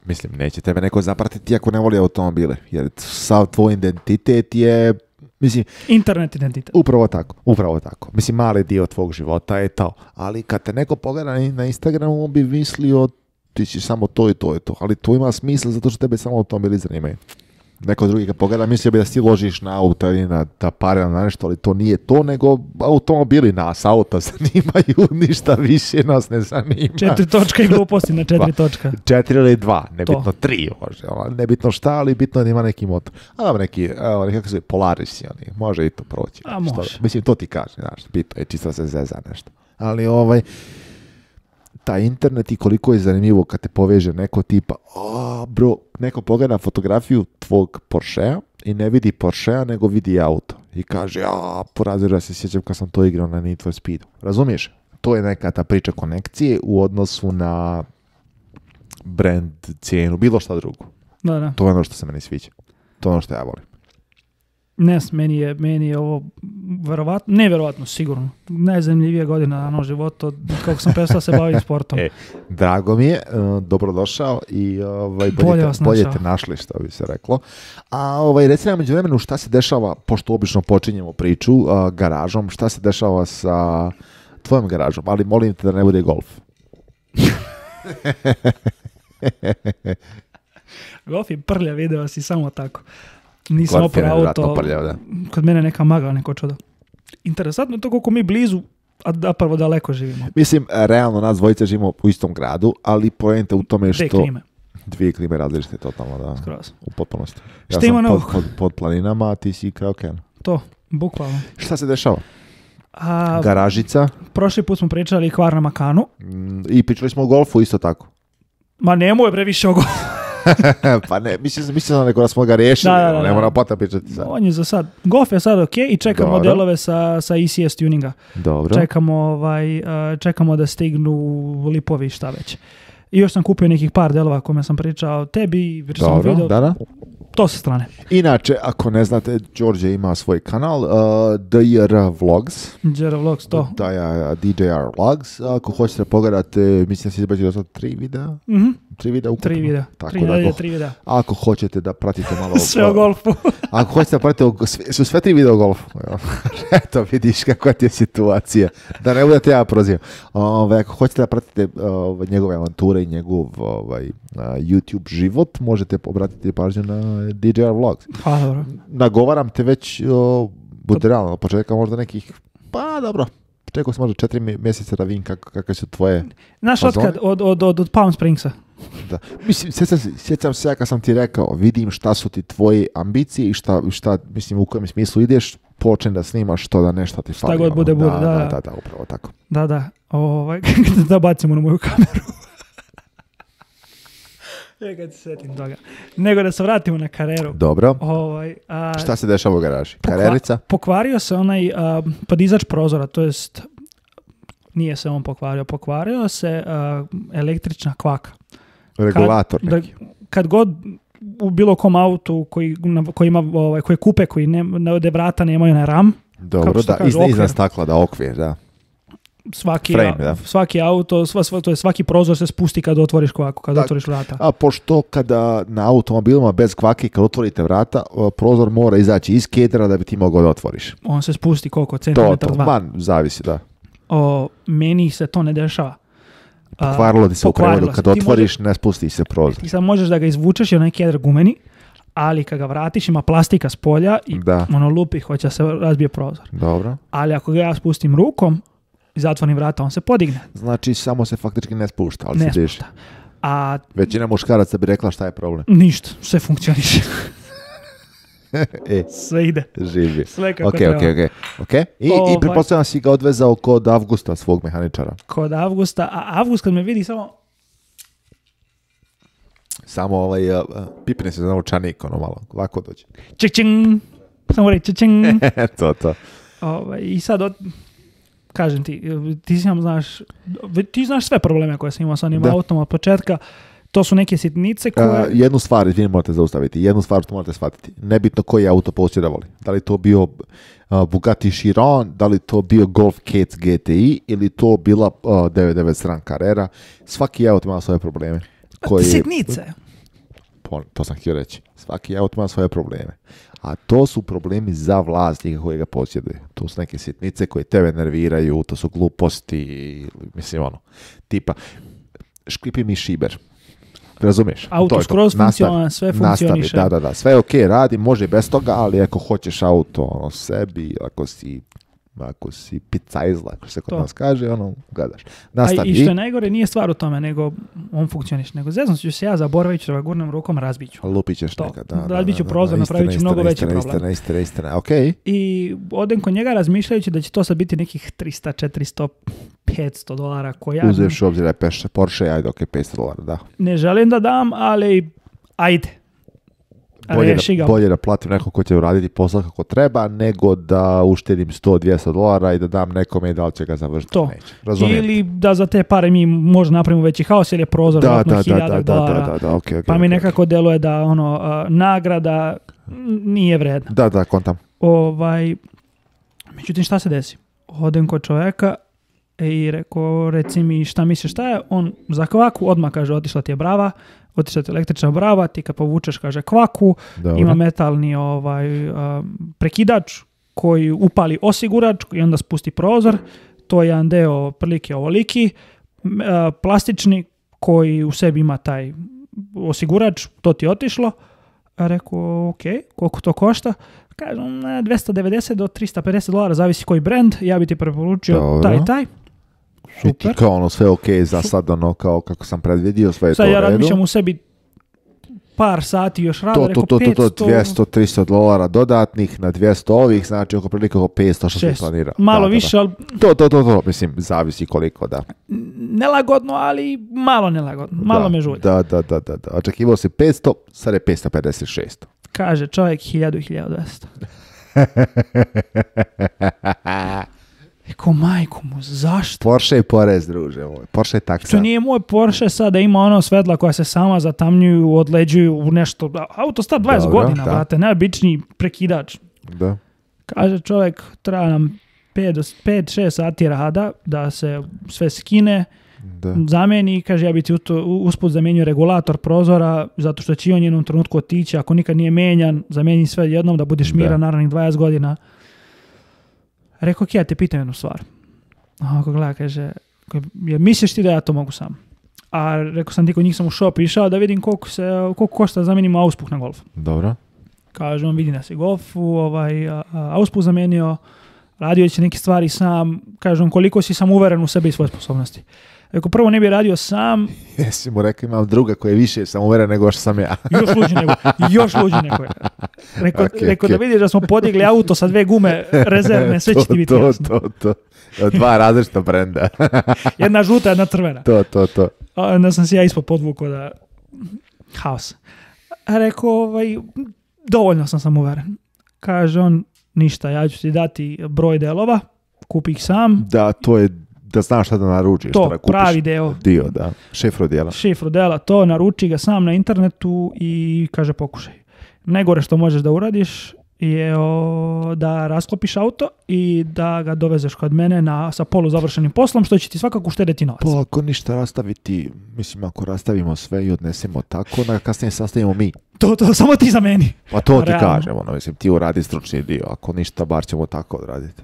Speaker 6: Mislim, neće tebe neko zapratiti ako ne voli automobile, jer sav tvoj identitet je, mislim,
Speaker 7: Internet identitet.
Speaker 6: Upravo tako, upravo tako. Mislim, mali dio tvog života je to. Ali kad te neko pogleda na- na Instagramu, on bi mislio ti si samo to i to i to. Ali to ima smisla zato što tebe samo automobili zanimaju. Neko drugi kad pogleda, mislio bi da si ti ložiš na auta ili na ta pare ili na nešto, ali to nije to, nego automobili nas, auta zanimaju, ništa više nas ne zanima.
Speaker 7: Četiri točka i gluposti na četiri
Speaker 6: Pa.
Speaker 7: točka.
Speaker 6: Četiri ili dva, nebitno
Speaker 7: To.
Speaker 6: tri, može, ono, nebitno šta, ali bitno je da ima neki motor. A dobro, neki, evo, neki kako se zove, Polaris, oni, može i to proći.
Speaker 7: A,
Speaker 6: nešto.
Speaker 7: može.
Speaker 6: Mislim, to ti kaže, znaš, bitno je, čisto da se zeza nešto. Ali, ovaj, taj internet i koliko je zanimljivo kad te poveže neko tipa, a, bro, neko pogleda fotografiju tvog Porschea i ne vidi Porschea, nego vidi auto. I kaže, a, porazira se, sjećam kad sam to igrao na Need for Speedu. Razumiješ? To je neka ta priča konekcije u odnosu na brand, cijenu, bilo šta drugo.
Speaker 7: Da, da.
Speaker 6: To je ono što se meni sviđa. To je ono što ja volim.
Speaker 7: Ne, s- meni je, meni je ovo verovatno, ne verovatno, sigurno. Najzanimljivija godina dana u životu od kako sam prestao se baviti sportom.
Speaker 6: E, drago mi je, e, dobrodošao i ovaj, bolje,
Speaker 7: Bolje
Speaker 6: te-
Speaker 7: vas
Speaker 6: bolje
Speaker 7: našao.
Speaker 6: te našli, što bi se reklo. A ovaj, reci nam među vremenu šta se dešava, pošto obično počinjemo priču a, garažom, šta se dešava sa tvojom garažom, ali molim te da ne bude golf.
Speaker 7: Golf je prlja, video si samo tako. Nisam
Speaker 6: Golf je
Speaker 7: oprao auto.
Speaker 6: nevjerojatno prljav, da.
Speaker 7: Kod mene neka magla, neko čudo. Interesantno je to koliko mi blizu, a da prvo daleko živimo.
Speaker 6: Mislim, e, realno nas dvojica živimo u istom gradu, ali poenta u tome je
Speaker 7: Te
Speaker 6: što...
Speaker 7: klime,
Speaker 6: Dvije klime različite totalno, da.
Speaker 7: skroz.
Speaker 6: U potpunosti. Ja
Speaker 7: Šta
Speaker 6: sam
Speaker 7: ima novog?
Speaker 6: pod, pod, pod planinama, a ti si kraj okeana.
Speaker 7: To, bukvalno.
Speaker 6: Šta se dešava?
Speaker 7: A,
Speaker 6: Garažica
Speaker 7: prošli put smo pričali kvar na Makanu.
Speaker 6: mm, i pričali smo o golfu isto tako.
Speaker 7: Ma nemoj bre više o golfu.
Speaker 6: pa ne, mislim, mislim da neko da smo ga riješili,
Speaker 7: Da, da, da,
Speaker 6: ne
Speaker 7: da. Ovaj,
Speaker 6: moramo pota pričati sad.
Speaker 7: On je za sad. Golf je sad ok i čekamo
Speaker 6: Dobro.
Speaker 7: delove sa, sa ECS tuninga.
Speaker 6: Dobro.
Speaker 7: Čekamo, ovaj, a, čekamo da stignu lipovi i šta već. I još sam kupio nekih par delova o kome sam pričao tebi, jer sam
Speaker 6: Dobro,
Speaker 7: video,
Speaker 6: da, da.
Speaker 7: to sa strane.
Speaker 6: Inače, ako ne znate, Đorđe ima svoj kanal, uh, DR Vlogs,
Speaker 7: Jera Vlogs, to.
Speaker 6: da je DJR Vlogs. Ako hoćete da pogledate, mislim da se izbađe do sad tri videa.
Speaker 7: Mhm.
Speaker 6: Tri videa ukupno.
Speaker 7: Tri videa.
Speaker 6: Tako
Speaker 7: tri,
Speaker 6: da, Pa-
Speaker 7: nedelje,
Speaker 6: ako,
Speaker 7: tri videa.
Speaker 6: ako hoćete da pratite malo...
Speaker 7: Sve o golfu.
Speaker 6: Ako hoćete da pratite, o- sve- su sve tri video golf. Eto, vidiš kakva ti je situacija. Da ne budete ja prozivam. Ove, ako hoćete da pratite ove, njegove avanture i njegov ovaj, a, YouTube život, možete obratiti pažnju na DJR Vlogs.
Speaker 7: Pa dobro.
Speaker 6: Nagovaram te već, o, bude realno, od početka možda nekih, pa dobro, čekao sam možda četiri mje- mjeseca da vidim kak, kakve su tvoje...
Speaker 7: Znaš
Speaker 6: Pa
Speaker 7: otkad?
Speaker 6: zoni-
Speaker 7: Od, od, od, od Palm Springsa.
Speaker 6: Da. Mislim, sjećam, se- sjećam se ja kad sam ti rekao, vidim šta su ti tvoje ambicije i šta, šta mislim, u kojem smislu ideš, počnem da snimaš to da nešto ti fali.
Speaker 7: god
Speaker 6: ono.
Speaker 7: bude, bude,
Speaker 6: da,
Speaker 7: da,
Speaker 6: da,
Speaker 7: da.
Speaker 6: da, da, upravo tako.
Speaker 7: Da, da. Ovaj, da bacimo na moju kameru. Ja kad se setim toga. Nego da se vratimo na kareru.
Speaker 6: Dobro,
Speaker 7: Ovaj, pa a,
Speaker 6: šta se dešava u garaži?
Speaker 7: pokva-
Speaker 6: Karerica?
Speaker 7: Pokvario se onaj a, podizač prozora, to jest nije se on pokvario, pokvario se a, električna kvaka.
Speaker 6: Regulator
Speaker 7: kad,
Speaker 6: neki.
Speaker 7: Da, kad god u bilo kom autu koji, na- koji ima ovaj, koje kupe, koji ne, na, gde vrata nemaju na ram,
Speaker 6: Dobro,
Speaker 7: se to
Speaker 6: da,
Speaker 7: kaže,
Speaker 6: izna,
Speaker 7: okvir.
Speaker 6: iznad stakla, da, okvir, da.
Speaker 7: Svaki,
Speaker 6: Frame,
Speaker 7: a-
Speaker 6: da.
Speaker 7: svaki auto, sva, sva, to je svaki prozor se spusti kad otvoriš kvako, kad
Speaker 6: Tak.
Speaker 7: otvoriš vrata.
Speaker 6: A pošto kada na automobilima bez kvake, kad otvorite vrata, o, prozor mora izaći iz kedra da bi ti mogao da otvoriš.
Speaker 7: On se spusti koliko?
Speaker 6: To,
Speaker 7: Centimetar
Speaker 6: to,
Speaker 7: dva.
Speaker 6: man, zavisi, da.
Speaker 7: O, meni se to ne dešava. A,
Speaker 6: Kvarilo ti se u
Speaker 7: Pa, pokvarilo
Speaker 6: prevodu,
Speaker 7: se.
Speaker 6: kad
Speaker 7: Ti
Speaker 6: otvoriš, ne spusti se prozor.
Speaker 7: Ti sad možeš da ga izvučeš i onaj kedar gumeni, ali kad ga vratiš ima plastika s polja i
Speaker 6: Da.
Speaker 7: ono lupi, hoće da se razbije prozor.
Speaker 6: Dobro.
Speaker 7: Ali ako ga ja spustim rukom i zatvorim vrata, on se podigne.
Speaker 6: Znači, samo se faktički ne spušta, ali
Speaker 7: Ne
Speaker 6: se diže.
Speaker 7: A
Speaker 6: Većina muškaraca bi rekla šta je problem.
Speaker 7: ništa, sve funkcioniše.
Speaker 6: E,
Speaker 7: sve ide.
Speaker 6: živi.
Speaker 7: Sve kako
Speaker 6: Ok,
Speaker 7: treba.
Speaker 6: ok, ok. ok. I,
Speaker 7: Ovaj.
Speaker 6: i pretpostavljam si ga odvezao kod Avgusta, svog mehaničara.
Speaker 7: Kod avgusta, a avgust kad me vidi samo
Speaker 6: Samo ovaj, uh, pipne se za novčanik, ono malo, lako dođe. E,
Speaker 7: čing, samo reći čing.
Speaker 6: to, to.
Speaker 7: Ovaj, I sad, od, kažem ti, ti sam znaš, ti znaš sve probleme koje sam imao sa onim
Speaker 6: Da.
Speaker 7: autom od početka, to su neke sitnice koje...
Speaker 6: A, Eh, jednu stvar, izvini, morate zaustaviti. Jednu stvar što morate shvatiti. Nebitno koji auto posjedovali. Da li to bio a, Bugatti Chiron, da li to bio Golf Cats GTI ili to bila eh, a, 99 Gran Carrera. Svaki auto ima svoje probleme. Koji,
Speaker 7: Sitnice.
Speaker 6: Pon- to sam htio reći. Svaki auto ima svoje probleme. A to su problemi za vlasnika koji ga posjeduje. To su neke sitnice koje tebe nerviraju, to su gluposti, mislim ono, tipa, škripi mi šiber. Razumiješ?
Speaker 7: Auto
Speaker 6: To je to.
Speaker 7: skroz
Speaker 6: Nastavi.
Speaker 7: funkcionalan, sve funkcioniše.
Speaker 6: Nastavi, da, da, da. Sve je okej, radi, može bez toga, ali ako hoćeš auto ono, sebi, ako si ako si pizzajzla, ako se kod
Speaker 7: To.
Speaker 6: nas kaže, ono, gadaš.
Speaker 7: A
Speaker 6: Nastavi.
Speaker 7: i što je najgore, nije stvar u tome, nego on funkcioniš. Nego zezno ću se ja zaboravit ću da ga gurnem rukom, razbit ću.
Speaker 6: Lupit ćeš
Speaker 7: To.
Speaker 6: nekad. Da, da,
Speaker 7: Razbit ću
Speaker 6: da, da,
Speaker 7: prozor,
Speaker 6: istina,
Speaker 7: napravit ću
Speaker 6: istina,
Speaker 7: mnogo veći
Speaker 6: istina,
Speaker 7: problem.
Speaker 6: Istina, istina, istina, okej.
Speaker 7: I odem kod njega razmišljajući da će to sad biti nekih 300, 400, 500 dolara koja
Speaker 6: Uzeš u obzir da je Porsche- Porsche, ajde, ok, 500 dolara, da.
Speaker 7: ne želim da dam, ali ajde.
Speaker 6: Bolje,
Speaker 7: Reši
Speaker 6: da,
Speaker 7: ga.
Speaker 6: bolje da platim neko ko će uraditi posao kako treba, nego da uštedim 100-200 dolara i da dam nekome i da li će ga završiti.
Speaker 7: To.
Speaker 6: Neće. Razumijem.
Speaker 7: Ili da za te pare mi možda napravimo veći haos, jer je prozor
Speaker 6: da,
Speaker 7: vjerojatno
Speaker 6: da, da, da, da,
Speaker 7: hiljada dolara.
Speaker 6: da, da, da, okej, okej,
Speaker 7: Pa mi
Speaker 6: okej.
Speaker 7: nekako deluje da ono a, nagrada n- nije vredna.
Speaker 6: Da, da, kontam.
Speaker 7: Ovaj, međutim, šta se desi? Odem kod čoveka e, i rekao, reci mi šta misliš šta je, on za kvaku, odmah kaže, otišla ti je brava, otišla ti je električna brava, ti kad povučeš, kaže, kvaku,
Speaker 6: Dobro.
Speaker 7: ima metalni ovaj, a, prekidač koji upali osigurač i onda spusti prozor, to je jedan deo otprilike ovoliki, m, a, plastični koji u sebi ima taj osigurač, to ti je otišlo, a rekao, ok, koliko to košta? Kažem, 290 do 350 dolara, zavisi koji brand, ja bi ti preporučio
Speaker 6: Dobro.
Speaker 7: taj i taj.
Speaker 6: I ti
Speaker 7: Super.
Speaker 6: kao ono sve ok za sad ono kao kako sam predvidio sve je to
Speaker 7: Sad
Speaker 6: u
Speaker 7: ja
Speaker 6: redu.
Speaker 7: razmišljam u sebi par sati još rada,
Speaker 6: To, to,
Speaker 7: rekao
Speaker 6: to, to,
Speaker 7: 500,
Speaker 6: to, 200-300 dolara dodatnih na 200 ovih, znači oko prilike oko 500 što se
Speaker 7: 600.
Speaker 6: planira.
Speaker 7: Malo
Speaker 6: Da, da, da.
Speaker 7: više, ali
Speaker 6: To, to, to, to, mislim, zavisi koliko, da.
Speaker 7: nelagodno, ali malo nelagodno, malo
Speaker 6: da,
Speaker 7: me žulja.
Speaker 6: Da, da, da, da, da. Očekivao si 500, sad je 556.
Speaker 7: Kaže čovjek 1000 i 1200. Eko, majko mu, zašto?
Speaker 6: Porsche je porez, druže moj. Porsche je taksa.
Speaker 7: To nije moj Porsche sad da ima ono svetla koja se sama zatamnjuju, odleđuju u nešto. A- Auto star 20
Speaker 6: Dobro,
Speaker 7: godina,
Speaker 6: da.
Speaker 7: brate, najobičniji prekidač.
Speaker 6: Da.
Speaker 7: Kaže čovjek, treba nam 5-6 sati rada da se sve skine,
Speaker 6: Da.
Speaker 7: Mm. zameni, kaže ja bi ti u to- u- usput zamenio regulator prozora zato što će i on u jednom trenutku otići, ako nikad nije menjan, zameni sve jednom da budeš
Speaker 6: Da.
Speaker 7: miran naravnih 20 godina. Rekao, ok, ja te pitam jednu stvar. A ako gleda, kaže, "Je- misliš ti da ja to mogu sam? A rekao sam ti kod njih sam u šop išao da vidim koliko, se, koliko košta da zamenimo auspuh na golf.
Speaker 6: Dobro.
Speaker 7: Kaže, on vidi da se golfu, ovaj, a- a- auspuh zamenio, radio će neke stvari sam, kaže on koliko si sam uveren u sebe i svoje sposobnosti. Rekao, prvo ne bi radio sam,
Speaker 6: Jesi mu rekao imam druga koji je više sam uveren nego što sam ja.
Speaker 7: još luđi nego, još luđi nego. je. Rekao,
Speaker 6: Okej,
Speaker 7: rekao da
Speaker 6: okej.
Speaker 7: vidiš da smo podigli auto sa dve gume rezervne, sve će ti biti
Speaker 6: to,
Speaker 7: jasno.
Speaker 6: to, to, to. Dva različita brenda.
Speaker 7: Jedna žuta, jedna crvena.
Speaker 6: to, to, to.
Speaker 7: A onda sam se ja ispod podvukao da haos. A rekao, ovaj, dovoljno sam sam uveren. Kaže on, ništa, ja ću ti dati broj delova, kupi ih sam,
Speaker 6: Da, to je da znaš šta da naručiš.
Speaker 7: To,
Speaker 6: šta da kupiš.
Speaker 7: pravi deo.
Speaker 6: Dio, da. Šifru dijela.
Speaker 7: šifru dela, to naruči ga sam na internetu i kaže pokušaj. Najgore što možeš da uradiš je o, da rasklopiš auto i da ga dovezeš kod mene na, sa polu završenim poslom, što će ti svakako uštedeti novac.
Speaker 6: Pa ako ništa rastaviti, mislim ako rastavimo sve i odnesemo tako, onda kasnije sastavimo mi.
Speaker 7: To, to, samo ti za meni.
Speaker 6: Pa to ti
Speaker 7: Realno.
Speaker 6: kažem, ono, mislim, ti uradi stručni dio, ako ništa, bar ćemo tako odraditi.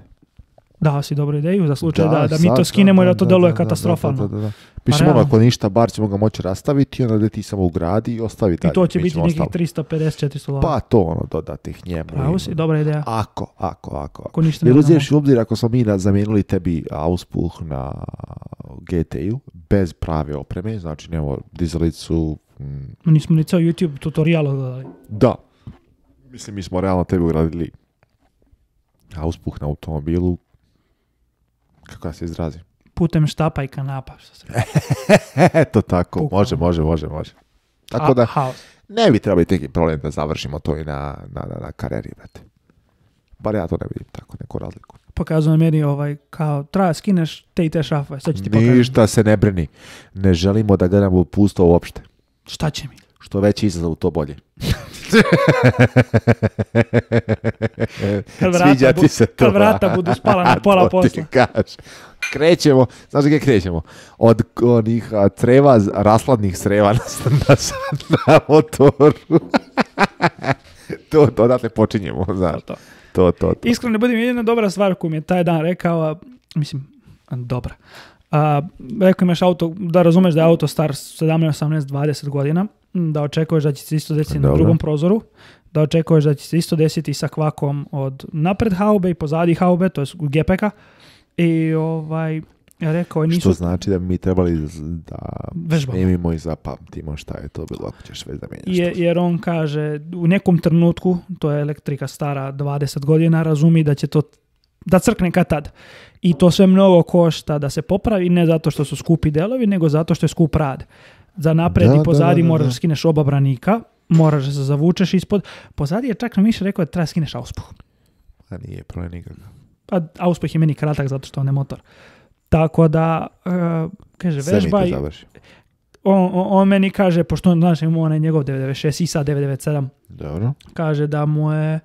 Speaker 7: Dao si dobru ideju za slučaj da, da, mi
Speaker 6: sad,
Speaker 7: to skinemo i da to deluje
Speaker 6: da,
Speaker 7: katastrofalno. Pa
Speaker 6: Da, da, da, da. Mislim, ono,
Speaker 7: realno.
Speaker 6: ako ništa, bar ćemo ga moći rastaviti, onda da ti samo ugradi i ostavi dalje.
Speaker 7: I to će
Speaker 6: mi
Speaker 7: biti
Speaker 6: ćemo
Speaker 7: nekih
Speaker 6: ostalo.
Speaker 7: 350-400 dolara.
Speaker 6: Pa to, ono, dodatih njemu.
Speaker 7: Pravo si,
Speaker 6: ima.
Speaker 7: dobra ideja.
Speaker 6: Ako, ako, ako.
Speaker 7: Ako ništa ne
Speaker 6: Jer
Speaker 7: znamo.
Speaker 6: uziješ u obzir ako smo mi na- zamijenili tebi auspuh na GT-u bez prave opreme, znači nemamo dizalicu, mm,
Speaker 7: Nismo ni ceo YouTube tutorial odgledali.
Speaker 6: da, mislim mi smo realno tebi ugradili auspuh na automobilu, kako ja se izrazim.
Speaker 7: Putem štapa i kanapa. što se
Speaker 6: E,
Speaker 7: rekao.
Speaker 6: Eto tako,
Speaker 7: Pukao.
Speaker 6: može, može, može, može. Tako
Speaker 7: A-
Speaker 6: da
Speaker 7: haos.
Speaker 6: ne bi trebali neki problem da završimo to i na, na, na, na kareri, brate. Bar ja to ne vidim tako, neku razliku.
Speaker 7: Pokazuje meni ovaj, kao, treba skineš te i te šafe, sad ću ti pokažem.
Speaker 6: Ništa se ne brini. Ne želimo da gledamo pusto uopšte.
Speaker 7: Šta će mi?
Speaker 6: Što veći izazov, to bolje.
Speaker 7: Kad
Speaker 6: Sviđa ti
Speaker 7: bu-
Speaker 6: se to.
Speaker 7: Kad vrata budu spala na pola
Speaker 6: To ti
Speaker 7: posla.
Speaker 6: kažeš. Krećemo, znaš gdje krećemo? Od onih a, creva, z- rasladnih creva na, s- na, s- na motoru. to, to odatle počinjemo, znaš.
Speaker 7: To.
Speaker 6: To, to, to.
Speaker 7: Iskreno, budem jedina dobra stvar koju mi je taj dan rekao, a, mislim, a, dobra. A, rekao imaš auto, da razumeš da je auto star 17, 18, 20 godina, m, da očekuješ da će se isto desiti na
Speaker 6: Dobro.
Speaker 7: drugom prozoru, da očekuješ da će se isto desiti sa kvakom od napred haube i pozadi haube, to je gepeka, i ovaj, ja rekao,
Speaker 6: Što
Speaker 7: nisu,
Speaker 6: znači da bi mi trebali z- da
Speaker 7: Vežbamo.
Speaker 6: snimimo i zapamtimo šta je to bilo ako ćeš već da menjaš
Speaker 7: je, jer on kaže, u nekom trenutku, to je elektrika stara 20 godina, razumi da će to da crkne kad tad. I to sve mnogo košta da se popravi, ne zato što su skupi delovi, nego zato što je skup rad. Za napred
Speaker 6: Da,
Speaker 7: i pozadi
Speaker 6: da, da, da,
Speaker 7: moraš
Speaker 6: da.
Speaker 7: skineš oba branika, moraš da se zavučeš ispod. Pozadi je čak na više rekao da treba skineš auspuh.
Speaker 6: to. A nije problem nikakav.
Speaker 7: A auspuh je meni kratak zato što on je motor. Tako da, e, kaže,
Speaker 6: Sve mi
Speaker 7: vežba
Speaker 6: to
Speaker 7: i
Speaker 6: završi.
Speaker 7: on, on, on meni kaže, pošto on, znaš, ima onaj njegov 996 i sa 997,
Speaker 6: Dobro.
Speaker 7: kaže da mu je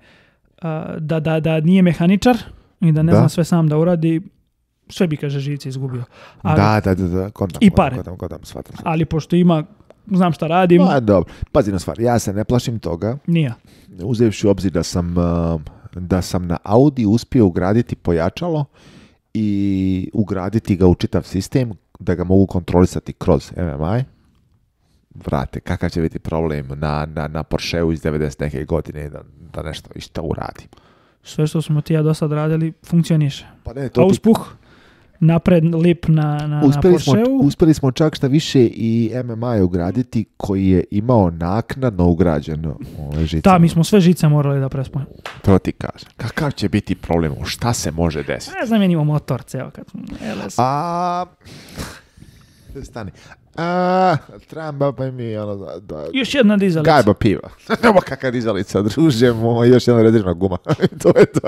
Speaker 7: a, da, da, da nije mehaničar i da ne
Speaker 6: Da.
Speaker 7: zna sve sam da uradi sve bi kaže živce izgubio ali,
Speaker 6: da, da, da, da, kontam.
Speaker 7: I
Speaker 6: kontam,
Speaker 7: pare.
Speaker 6: Kontam, kontam, shvatam. shvatam.
Speaker 7: ali pošto ima znam šta radim
Speaker 6: Pa dobro, pazi na stvar, ja se ne plašim toga,
Speaker 7: nije
Speaker 6: uzevši u obzir da sam, um, da sam na Audi uspio ugraditi pojačalo i ugraditi ga u čitav sistem da ga mogu kontrolisati kroz MMI. Vrate, kakav će biti problem na, na, na Porscheu iz 90 neke godine da, da nešto isto uradim.
Speaker 7: sve što smo ti i ja do sad radili funkcioniše
Speaker 6: Pa ne, to
Speaker 7: a
Speaker 6: ti
Speaker 7: uspuh napred lip na, na, na
Speaker 6: Uspeli smo,
Speaker 7: Porscheu
Speaker 6: uspeli smo čak šta više i MMA ugraditi koji je imao naknadno ugrađeno ove žice.
Speaker 7: da mi smo sve žice morali da prespojimo
Speaker 6: To ti kažem. Kakav će biti problem? Šta se može desiti?
Speaker 7: ne znam je motor ceo kad smo- LS.
Speaker 6: A... Stani. A, tramba pa mi ono da... da
Speaker 7: još jedna dizalica
Speaker 6: gajba piva. Nema kakva dizalica, druže moj, još jedna rezervna guma. to je to.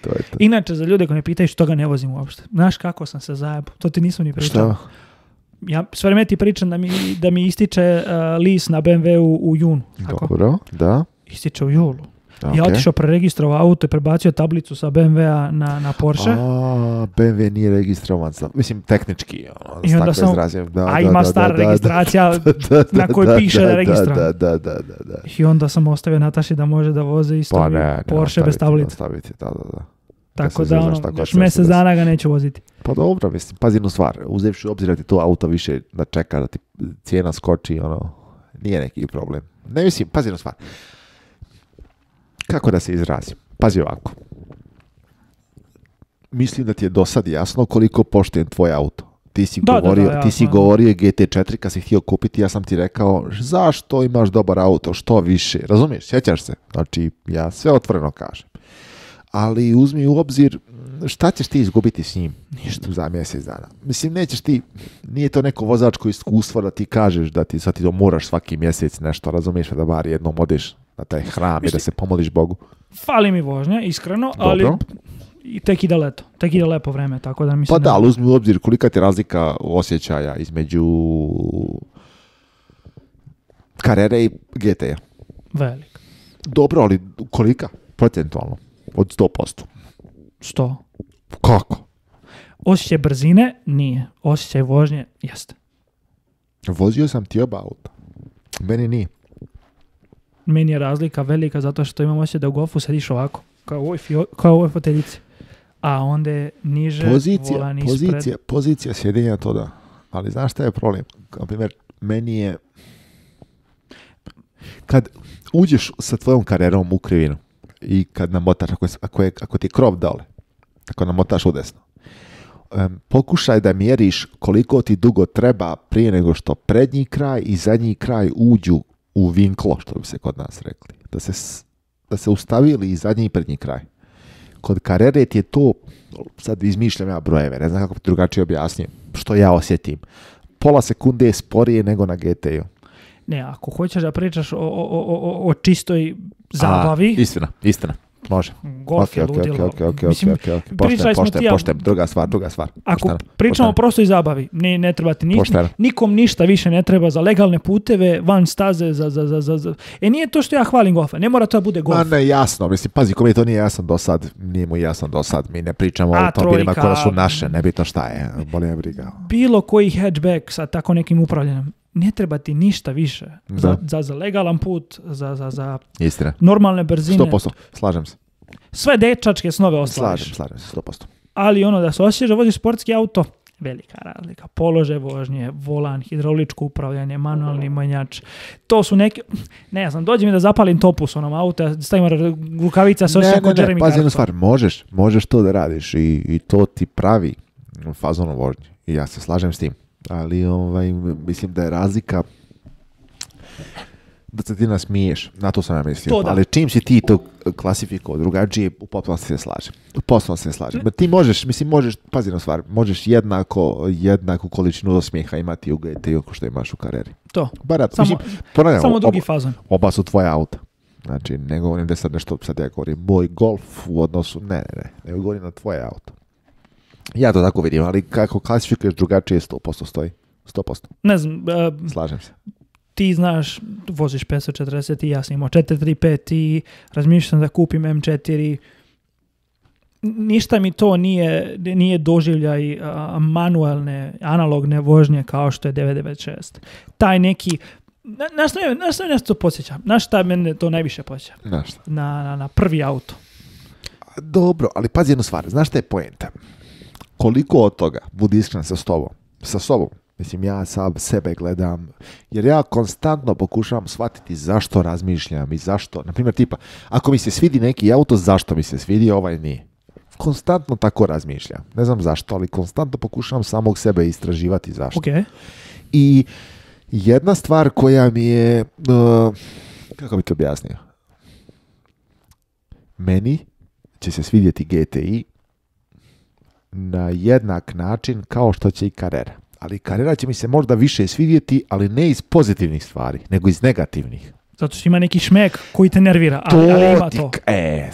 Speaker 6: to je to.
Speaker 7: Inače, za ljude koji me pitaju što ga ne vozim uopšte. Znaš kako sam se zajebao? To ti nisam ni pričao.
Speaker 6: Šta?
Speaker 7: Ja sve vreme ti pričam da mi, da mi ističe eh, lis na BMW-u u junu. Tako?
Speaker 6: Dobro, da.
Speaker 7: Ističe u julu. Ja
Speaker 6: okej.
Speaker 7: otišao preregistrovao auto i prebacio tablicu sa BMW-a na, na Porsche.
Speaker 6: A, BMW nije registrovan za, mislim, tehnički, ono,
Speaker 7: I
Speaker 6: I
Speaker 7: onda
Speaker 6: tako
Speaker 7: samo-
Speaker 6: izrazim. Da,
Speaker 7: A
Speaker 6: da,
Speaker 7: ima
Speaker 6: da,
Speaker 7: stara
Speaker 6: da, da,
Speaker 7: registracija
Speaker 6: da, da,
Speaker 7: na kojoj
Speaker 6: da,
Speaker 7: piše da je registrovan.
Speaker 6: Da, da, da, da, da.
Speaker 7: I onda sam ostavio Nataši da može da vozi isto
Speaker 6: Pa ne, ne,
Speaker 7: Porsche bez
Speaker 6: ostaviti,
Speaker 7: tablice.
Speaker 6: ostaviti, da, da, da.
Speaker 7: Tako
Speaker 6: se
Speaker 7: da,
Speaker 6: zeznaš,
Speaker 7: ono,
Speaker 6: tako da
Speaker 7: još
Speaker 6: sve
Speaker 7: mjesec
Speaker 6: se desi.
Speaker 7: dana ga neću voziti.
Speaker 6: Pa dobro, mislim, pazi jednu stvar, uzevši u obzir da ti to auto više da čeka, da ti cijena skoči, ono, nije neki problem. Ne mislim, pazi jednu stvar. Kako da se izrazim? Pazi ovako. Mislim da ti je do sad jasno koliko poštujem tvoj auto. Ti si
Speaker 7: Da, da, da,
Speaker 6: govorio, ti si
Speaker 7: jasno je.
Speaker 6: govorio GT4 kad si htio kupiti, ja sam ti rekao zašto imaš dobar auto, što više. Razumiješ, sjećaš se. Znači, ja sve otvoreno kažem ali uzmi u obzir m, šta ćeš ti izgubiti s njim Ništa. za mjesec dana. Mislim, nećeš ti, nije to neko vozačko iskustvo da ti kažeš da ti sad ti to moraš svaki mjesec nešto, razumiješ, da bar jednom odeš na taj hram i da se pomoliš Bogu.
Speaker 7: Fali mi vožnja, iskreno, ali
Speaker 6: Dobro.
Speaker 7: i tek ide leto. Tek ide lepo vreme, tako da mislim...
Speaker 6: Pa da,
Speaker 7: ne-
Speaker 6: ali uzmi u obzir kolika ti je razlika osjećaja između Carrere i GT-a.
Speaker 7: Velik.
Speaker 6: Dobro, ali kolika? Procentualno. Od 100%.
Speaker 7: 100.
Speaker 6: Kako?
Speaker 7: Osjećaj brzine? Nije. Osjećaj vožnje? Jeste.
Speaker 6: Vozio sam ti oba auta. Meni nije.
Speaker 7: Meni je razlika velika zato što imam osjećaj da u golfu sediš ovako, kao u ovoj, fio, kao u ovoj foteljici. A onda je niže
Speaker 6: Pozicija,
Speaker 7: volan ispred.
Speaker 6: pozicija, pozicija sjedenja to da. Ali znaš šta je problem? Na primjer, meni je... Kad uđeš sa tvojom karijerom u krivinu i kad namotaš, ako, je, ako, je, ako ti je krov dole, ako namotaš udesno, em, pokušaj da mjeriš koliko ti dugo treba prije nego što prednji kraj i zadnji kraj uđu u vinklo, što bi se kod nas rekli. Da se, s- da se ustavili i zadnji i prednji kraj. Kod Carrere ti je to, sad izmišljam ja brojeve, ne znam kako bi drugačije objasnio, što ja osjetim. Pola sekunde je sporije nego na GT-u.
Speaker 7: Ne, ako hoćeš da pričaš o, o, o, o, o čistoj
Speaker 6: A,
Speaker 7: zabavi,
Speaker 6: Istina, istina. Može.
Speaker 7: golf je
Speaker 6: Okej, okej,
Speaker 7: ludilo.
Speaker 6: okej, okej,
Speaker 7: Mislim,
Speaker 6: okej, okej.
Speaker 7: pričali
Speaker 6: Pošten,
Speaker 7: smo ti
Speaker 6: pošten,
Speaker 7: ja-
Speaker 6: pošten. Druga stvar, druga stvar.
Speaker 7: Ako
Speaker 6: Pošteno,
Speaker 7: pričamo
Speaker 6: pošteno.
Speaker 7: o prostoj zabavi, ne, ne treba ti ni,
Speaker 6: Pošteno.
Speaker 7: nikom ništa više ne treba za legalne puteve, van staze, za, za, za, za, za. E nije to što ja hvalim golfa, ne mora to da bude golf.
Speaker 6: Ma ne, jasno, mislim, pazi, kome to nije jasno do sad, nije mu jasno do sad, mi ne pričamo o
Speaker 7: A,
Speaker 6: automobilima
Speaker 7: trojka.
Speaker 6: koja su naše, nebitno šta je, boli me briga.
Speaker 7: Bilo koji hatchback sa tako nekim upravljanjem, ne treba ti ništa više. Za, za, za legalan put, za, za, za
Speaker 6: Istina,
Speaker 7: normalne brzine.
Speaker 6: 100%, slažem se,
Speaker 7: Sve dečačke snove ostvariš.
Speaker 6: slažem, slažem se, 100%.
Speaker 7: ali ono da se osjećaš da voziš sportski auto, velika razlika. Položaj vožnje, volan, hidrauličko upravljanje, manualni manjač. To su neke, ne znam, dođe mi da zapalim topus onom auta, stavim ra- rukavica se osjeća kod Jeremy
Speaker 6: pazi jednu
Speaker 7: Clarkson.
Speaker 6: stvar, možeš, možeš to da radiš i, i to ti pravi fazon u vožnji. I ja se slažem s tim. Ali ovaj, mislim da je razlika da se ti nasmiješ, na to sam ja mislio.
Speaker 7: To da.
Speaker 6: Ali čim si ti to klasifikovao drugačije, u potpunosti se slažem. U potpunosti se slažem. Ma Ti možeš, mislim, možeš, pazi na stvar, možeš jednako, jednaku količinu osmijeha imati u GT-u ko što imaš u karijeri.
Speaker 7: To.
Speaker 6: Bar,
Speaker 7: Samo-
Speaker 6: mislim, ponavljam,
Speaker 7: Samo
Speaker 6: ob-
Speaker 7: drugi fazon.
Speaker 6: oba su tvoja auta. Znači, ne govorim da je sad nešto, sad ja govorim moj golf u odnosu, ne, ne, ne, nego govorim na tvoje auto. Ja to tako vidim, ali kako klasifikuješ drugačije 100% stoji. 100%,
Speaker 7: Ne znam, e,
Speaker 6: slažem se.
Speaker 7: ti znaš, voziš 540 i ja sam imao 435 i razmišljam da kupim M4. Ništa mi to nije, nije doživljaj a, manuelne, analogne vožnje kao što je 996. Taj neki, na, na, što me- na što me nešto podsjeća? Na šta mene to najviše podsjeća?
Speaker 6: Znaš šta?
Speaker 7: Na, na, na prvi auto.
Speaker 6: Dobro, ali pazi jednu stvar, znaš šta je poenta? Koliko od toga, budi iskren sa sobom, sa sobom, mislim ja sam sebe gledam, jer ja konstantno pokušavam shvatiti zašto razmišljam i zašto, na primjer tipa, ako mi se svidi neki auto, zašto mi se svidi, ovaj nije. Konstantno tako razmišljam, ne znam zašto, ali konstantno pokušavam samog sebe istraživati zašto.
Speaker 7: Ok,
Speaker 6: I jedna stvar koja mi je, uh, kako bi to objasnio? Meni će se svidjeti GTI na jednak način kao što će i Carrera. Ali Carrera će mi se možda više svidjeti, ali ne iz pozitivnih stvari, nego iz negativnih.
Speaker 7: zato što ima neki šmek koji te nervira, ali, ali ima
Speaker 6: ti
Speaker 7: to.
Speaker 6: k- E,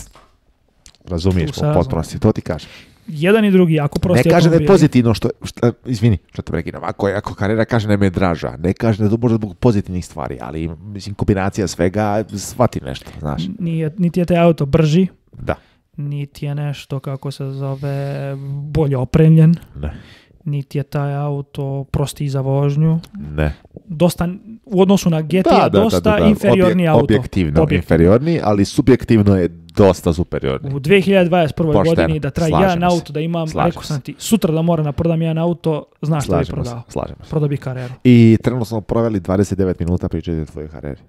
Speaker 6: razumiješ,
Speaker 7: Tu se
Speaker 6: u
Speaker 7: razum-
Speaker 6: potpunosti, to ti kažem.
Speaker 7: Jedan i drugi, jako
Speaker 6: Ne
Speaker 7: prosti
Speaker 6: kaže da je
Speaker 7: automobili.
Speaker 6: pozitivno što, šta, izvini, što te prekidam, ako, je- ako karijera kaže da me je draža, ne kaže da je to možda zbog pozitivnih stvari, ali mislim kombinacija svega, shvati nešto, znaš.
Speaker 7: Nije, niti je taj auto brži,
Speaker 6: Da.
Speaker 7: niti je nešto kako se zove bolje opremljen,
Speaker 6: Ne.
Speaker 7: niti je taj auto prosti za vožnju.
Speaker 6: Ne.
Speaker 7: Dosta, u odnosu na GT je dosta inferiorni
Speaker 6: Objek-
Speaker 7: auto.
Speaker 6: Objektivno,
Speaker 7: Objektivno.
Speaker 6: inferiorni, ali subjektivno je dosta superiorni.
Speaker 7: U 2021.
Speaker 6: Pošteno,
Speaker 7: godini da traje
Speaker 6: slažem
Speaker 7: jedan
Speaker 6: se,
Speaker 7: auto da imam,
Speaker 6: slažem
Speaker 7: rekao sam ti, sutra da moram da prodam jedan auto, znaš šta bi
Speaker 6: Slažemo se,
Speaker 7: prodao.
Speaker 6: slažemo se.
Speaker 7: Prodao bi kareru.
Speaker 6: I trenutno smo proveli 29 minuta pričajući o tvojoj karijeri.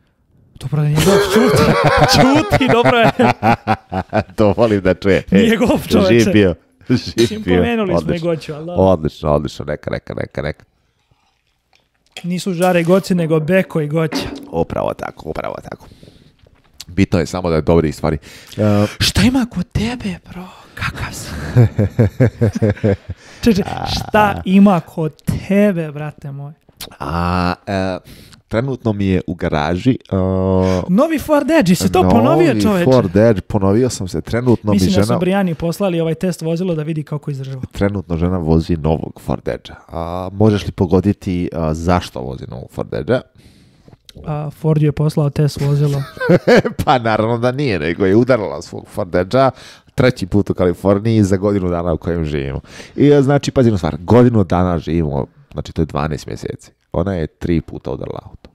Speaker 7: Dobro, da nije golf, čuti, čuti, dobro je.
Speaker 6: to volim da čuje.
Speaker 7: Nije
Speaker 6: Ej,
Speaker 7: golf, čoveče.
Speaker 6: Živ bio. Živ
Speaker 7: Mislim,
Speaker 6: bio.
Speaker 7: pomenuli smo je
Speaker 6: Odlično.
Speaker 7: goću, ali da.
Speaker 6: Odlično, odlično, neka, neka, neka, neka.
Speaker 7: nisu žare goci, nego beko i goća.
Speaker 6: Upravo tako, upravo tako. Bitno je samo da je dobrih stvari.
Speaker 7: Šta ima kod tebe, bro? Kakav si? Čeče, šta ima kod tebe, brate moj?
Speaker 6: A, e, trenutno mi je u garaži. e,
Speaker 7: Novi Ford Edge, si to
Speaker 6: novi
Speaker 7: ponovio čoveče?
Speaker 6: Ford Edge, ponovio sam se. Trenutno
Speaker 7: Mislim
Speaker 6: mi
Speaker 7: da
Speaker 6: žena,
Speaker 7: su Brijani poslali ovaj test vozilo da vidi kako izdržava.
Speaker 6: trenutno žena vozi e, novog Ford Edge-a. A, možeš li pogoditi a, zašto vozi novog Ford Edge-a?
Speaker 7: a Ford ju je poslao test vozila.
Speaker 6: pa naravno da nije, nego je udarala svog Fordeđa treći put u Kaliforniji za godinu dana u kojem živimo. I e, znači, pazi na stvar, godinu dana živimo, znači to je 12 mjeseci. Ona je tri puta udarala auto.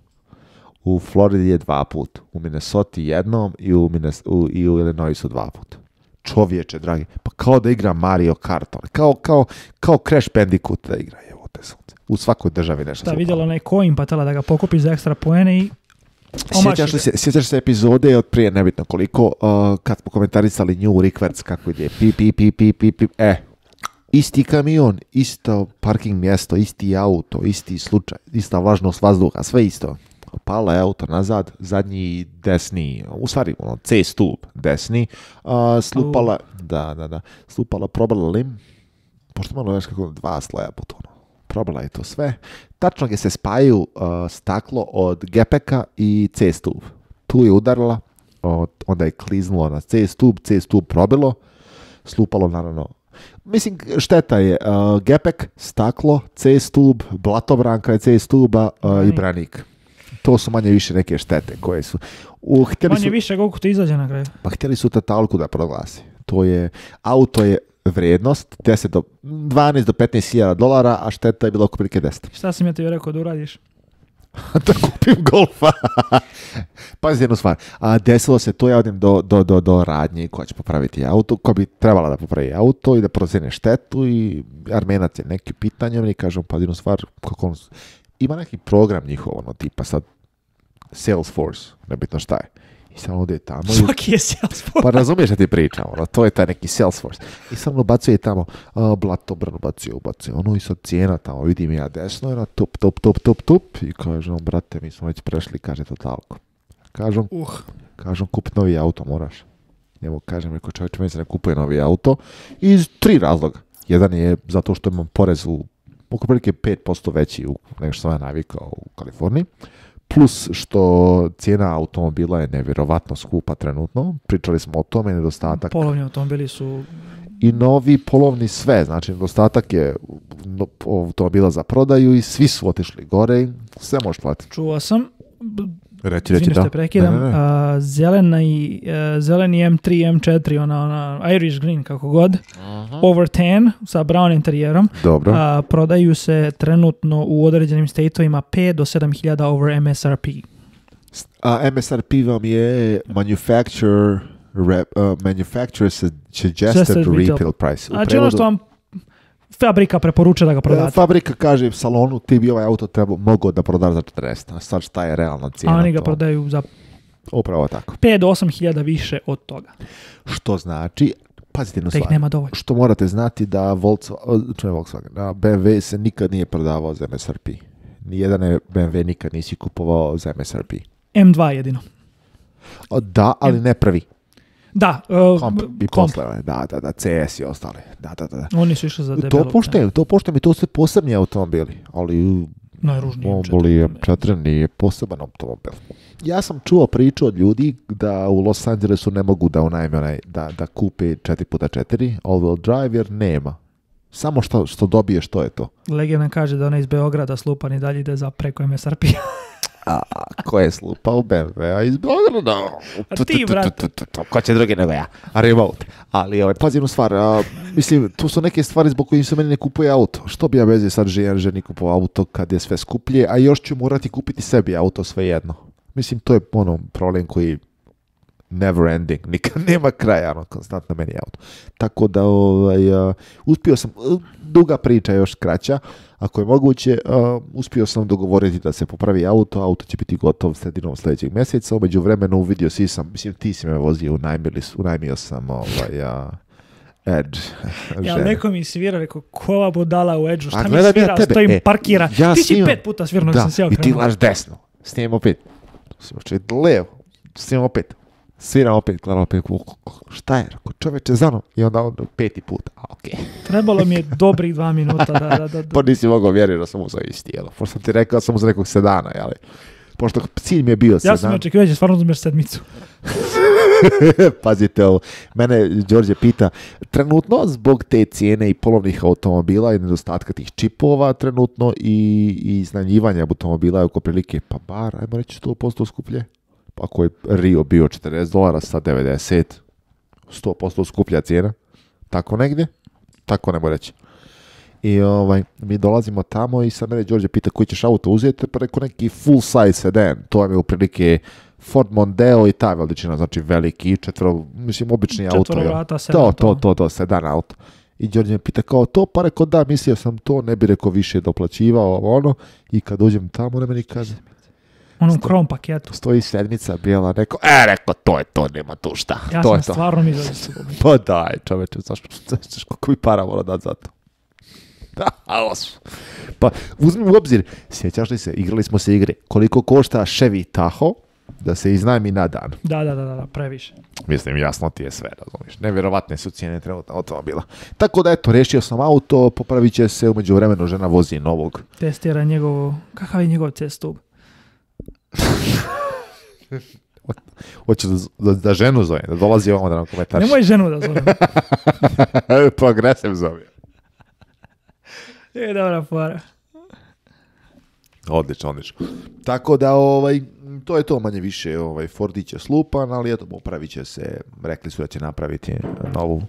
Speaker 6: U Floridi je dva puta, u Minnesota jednom i u, Minnes, u, i u Illinoisu dva puta. Čovječe, dragi, pa kao da igra Mario Kart, ono, kao, kao, kao Crash Bandicoot da igra, evo te sunce. U svakoj državi nešto
Speaker 7: Da
Speaker 6: se
Speaker 7: vidjela onaj coin pa tela da ga pokupiš za ekstra poene i omaši
Speaker 6: Sjećaš, li
Speaker 7: ga.
Speaker 6: se, sjećaš se epizode od prije nebitno koliko, uh, kad smo komentarisali nju Rickverts kako ide, pip, pip, pip, pip, pip, pip, e, isti kamion, isto parking mjesto, isti auto, isti slučaj, ista vlažnost vazduha, sve isto. Pala je auto nazad, zadnji desni, u stvari ono, C stup desni, uh, slupala, da, da, da, slupala, probala lim, pošto malo znaš kako dva sloja butona. Probala je to sve. Tačno je se spaju uh, staklo od gepeka i C stup. Tu je udarila, od, onda je kliznulo na C stup, C stup probilo, slupalo naravno. Mislim, šteta je uh, gepek, staklo, C stup, blatobranka je C stuba uh, i
Speaker 7: Branik.
Speaker 6: branik. To su manje više neke štete koje su... Uh, htjeli
Speaker 7: Manje
Speaker 6: su
Speaker 7: više koliko ti izađe na kraju.
Speaker 6: pa htjeli su totalku da proglasi. To je, auto je vrijednost 10 do, 12 do 15 hiljada dolara, a šteta je bila oko prilike 10.
Speaker 7: Šta sam ja ti rekao da uradiš?
Speaker 6: da kupim golfa. Pazi jednu stvar, a desilo se to, ja odem do, do, do, do radnje koja će popraviti auto, koja bi trebala da popravi auto i da procene štetu i armenac je neki pitanje, i kažem, pa jednu stvar, kako on, ima neki program njihov, ono, tipa sad, Salesforce, nebitno šta je. I samo ode tamo i
Speaker 7: Svaki je Salesforce.
Speaker 6: Pa razumiješ da ti pričam, ono, to je taj neki Salesforce. I sam ono bacio je tamo, a, blatobran bacio, bacio, ono i sad cijena tamo, vidim ja desno, jedna tup, tup, tup, tup, tup, i kaže on, brate, mi smo već prešli, kaže to talko. Kažem,
Speaker 7: Uh,
Speaker 6: kažem, kup novi auto, moraš. Njemu kažem, reko čovječe, meni se ne kupuje novi auto, iz tri razloga. Jedan je zato što imam porez u, oko prilike 5% veći u, nego što sam ja navikao u Kaliforniji plus što cijena automobila je nevjerovatno skupa trenutno, pričali smo o tome, nedostatak
Speaker 7: polovni automobili su
Speaker 6: i novi polovni sve, znači nedostatak je no- automobila za prodaju i svi su otišli gore i sve možeš platiti.
Speaker 7: čuo sam,
Speaker 6: Reći,
Speaker 7: izvini što te prekidam,
Speaker 6: Ne, ne, ne.
Speaker 7: a, zelena i, e, zeleni M3, M4, ona, ona Irish Green kako god, over tan sa brown interijerom,
Speaker 6: Dobro,
Speaker 7: a, prodaju se trenutno u određenim stateovima 5 do 7 hiljada over MSRP.
Speaker 6: a MSRP vam je manufacturer rep, uh, manufacturer su- suggested
Speaker 7: Suggested retail.
Speaker 6: retail price. U
Speaker 7: Znači
Speaker 6: prevodu-
Speaker 7: ono što vam fabrika preporuča da ga
Speaker 6: E,
Speaker 7: prodate.
Speaker 6: Fabrika kaže u salonu ti bi ovaj auto trebao mogao da prodaš za 40, a sad šta je realna cijena?
Speaker 7: A oni ga
Speaker 6: to-
Speaker 7: prodaju za
Speaker 6: Upravo tako.
Speaker 7: 5 do 8 hiljada više od toga.
Speaker 6: Pa Što znači, pazite jednu
Speaker 7: Da ih
Speaker 6: stvar.
Speaker 7: nema dovoljno.
Speaker 6: Što morate znati da Volkswagen, čujem Volkswagen, da BMW se nikad nije prodavao za MSRP. Nijedan je BMW nikad nisi kupovao za MSRP.
Speaker 7: M2 jedino.
Speaker 6: O, Da, ali ne prvi.
Speaker 7: Da, e,
Speaker 6: Komp i
Speaker 7: komp.
Speaker 6: posle. one. Da, da, da, CS i ostale. Da, da, da. da.
Speaker 7: Oni su išli za debelo.
Speaker 6: To poštem, to poštem i to su sve posebni automobili, ali
Speaker 7: Najružniji
Speaker 6: Boli M4 nije poseban automobil. Ja sam čuo priču od ljudi da u Los Angelesu ne mogu da unajme onaj, da, da kupe 4x4 all-wheel drive jer nema. Samo što, što dobiješ to je to.
Speaker 7: Legenda kaže da ona iz Beograda slupan i dalje ide za preko MSRP.
Speaker 6: A ko je slupao BMW-a iz Beograda?
Speaker 7: A ti, brate.
Speaker 6: Ko će drugi nego ja? A remote. Ali, ovaj, pazi jednu stvar, a, mislim, tu su neke stvari zbog kojih se meni ne kupuje auto. Što bi ja veze sad željen ženi kupovao auto kad je sve skuplje, a još ću morati kupiti sebi auto svejedno. Mislim, to je ono problem koji never ending, nikad nema kraja, ono, konstantno meni je auto. Tako da, ovaj, uh, uspio sam, uh, duga priča još kraća, ako je moguće, uh, uspio sam dogovoriti da se popravi auto, auto će biti gotov sredinom sljedećeg mjeseca, umeđu vremenu uvidio si sam, mislim, ti si me vozio, unajmili, s- unajmio sam, ovaj, uh, Edge.
Speaker 7: Ja,
Speaker 6: žene.
Speaker 7: neko mi svira, rekao, kova budala u edžu,
Speaker 6: A
Speaker 7: šta mi
Speaker 6: gledam ja
Speaker 7: svira,
Speaker 6: tebe,
Speaker 7: stojim,
Speaker 6: e,
Speaker 7: parkira.
Speaker 6: ja
Speaker 7: ti si
Speaker 6: snimam.
Speaker 7: pet puta svirno,
Speaker 6: da,
Speaker 7: sam se ja
Speaker 6: i ti
Speaker 7: okrenuo.
Speaker 6: laž desno. Snijem opet. Snijem opet levo. Snijem opet. Sviram opet, gledam opet. u- u- u- Šta je? Rekao, čoveče, za mnom. I onda on peti put. A, okej.
Speaker 7: Trebalo mi je dobrih dva minuta da, da, da, da.
Speaker 6: Pa nisi mogao vjeriti da sam uzao isti, jel? Pošto sam ti rekao da sam uzao nekog sedana, jel? Pošto cilj mi je bio
Speaker 7: Ja znači,
Speaker 6: sedan.
Speaker 7: sam očekivao da će stvarno uzmeš sedmicu.
Speaker 6: Pazite ovo, mene Đorđe pita, trenutno zbog te cijene i polovnih automobila i nedostatka tih čipova trenutno i, i iznajmljivanja automobila je oko prilike, pa bar, ajmo reći 100% skuplje. Pa ako je Rio bio 40 dolara, sad 90, 100% skuplja cijena, tako negdje, tako nemo reći. I ovaj, mi dolazimo tamo i sad mene Đorđe pita koji ćeš auto uzeti, pa rekao neki full size sedan, to vam je u prilike Ford Mondeo i ta veličina, znači veliki, četvro, mislim obični auto. jel?
Speaker 7: Četvorolata sedan,
Speaker 6: to, to,
Speaker 7: to.
Speaker 6: to, to, sedan auto. I Đorđe me pita kao to, pa rekao da, mislio sam to, ne bi rekao više doplaćivao, ovo, ono, i kad uđem tamo, ne meni kaže,
Speaker 7: Onom ono, krom paketu.
Speaker 6: stoji sedmica bijela, rekao, e, rekao, to je to, nema tu šta,
Speaker 7: Ja
Speaker 6: to
Speaker 7: sam
Speaker 6: je to.
Speaker 7: stvarno mi zavisio.
Speaker 6: Pa daj, čoveče, zašto, zašto, koliko mi para mora dat za to? Da, alas. Pa, uzmi u obzir, sjećaš li se, igrali smo se igre, koliko košta Chevy Tahoe da se iznajmi na dan?
Speaker 7: Da, da, da, da, da, previše.
Speaker 6: Mislim, jasno ti je sve, razumiješ. Nevjerovatne su cijene trenutno automobila. Tako da, eto, rešio sam auto, popravit će se, umeđu vremenu žena vozi novog.
Speaker 7: Testira njegovo, kakav je njegov C-stup?
Speaker 6: Hoće da, da, da ženu zove, da dolazi ovamo da nam komentariš.
Speaker 7: Nemoj ženu da zovem.
Speaker 6: Progresiv zove.
Speaker 7: e, dobra fora.
Speaker 6: Odlično, odlično. Tako da, ovaj, to je to manje više, ovaj, Fordić je slupan, ali eto, popravit će se, rekli su da će napraviti novu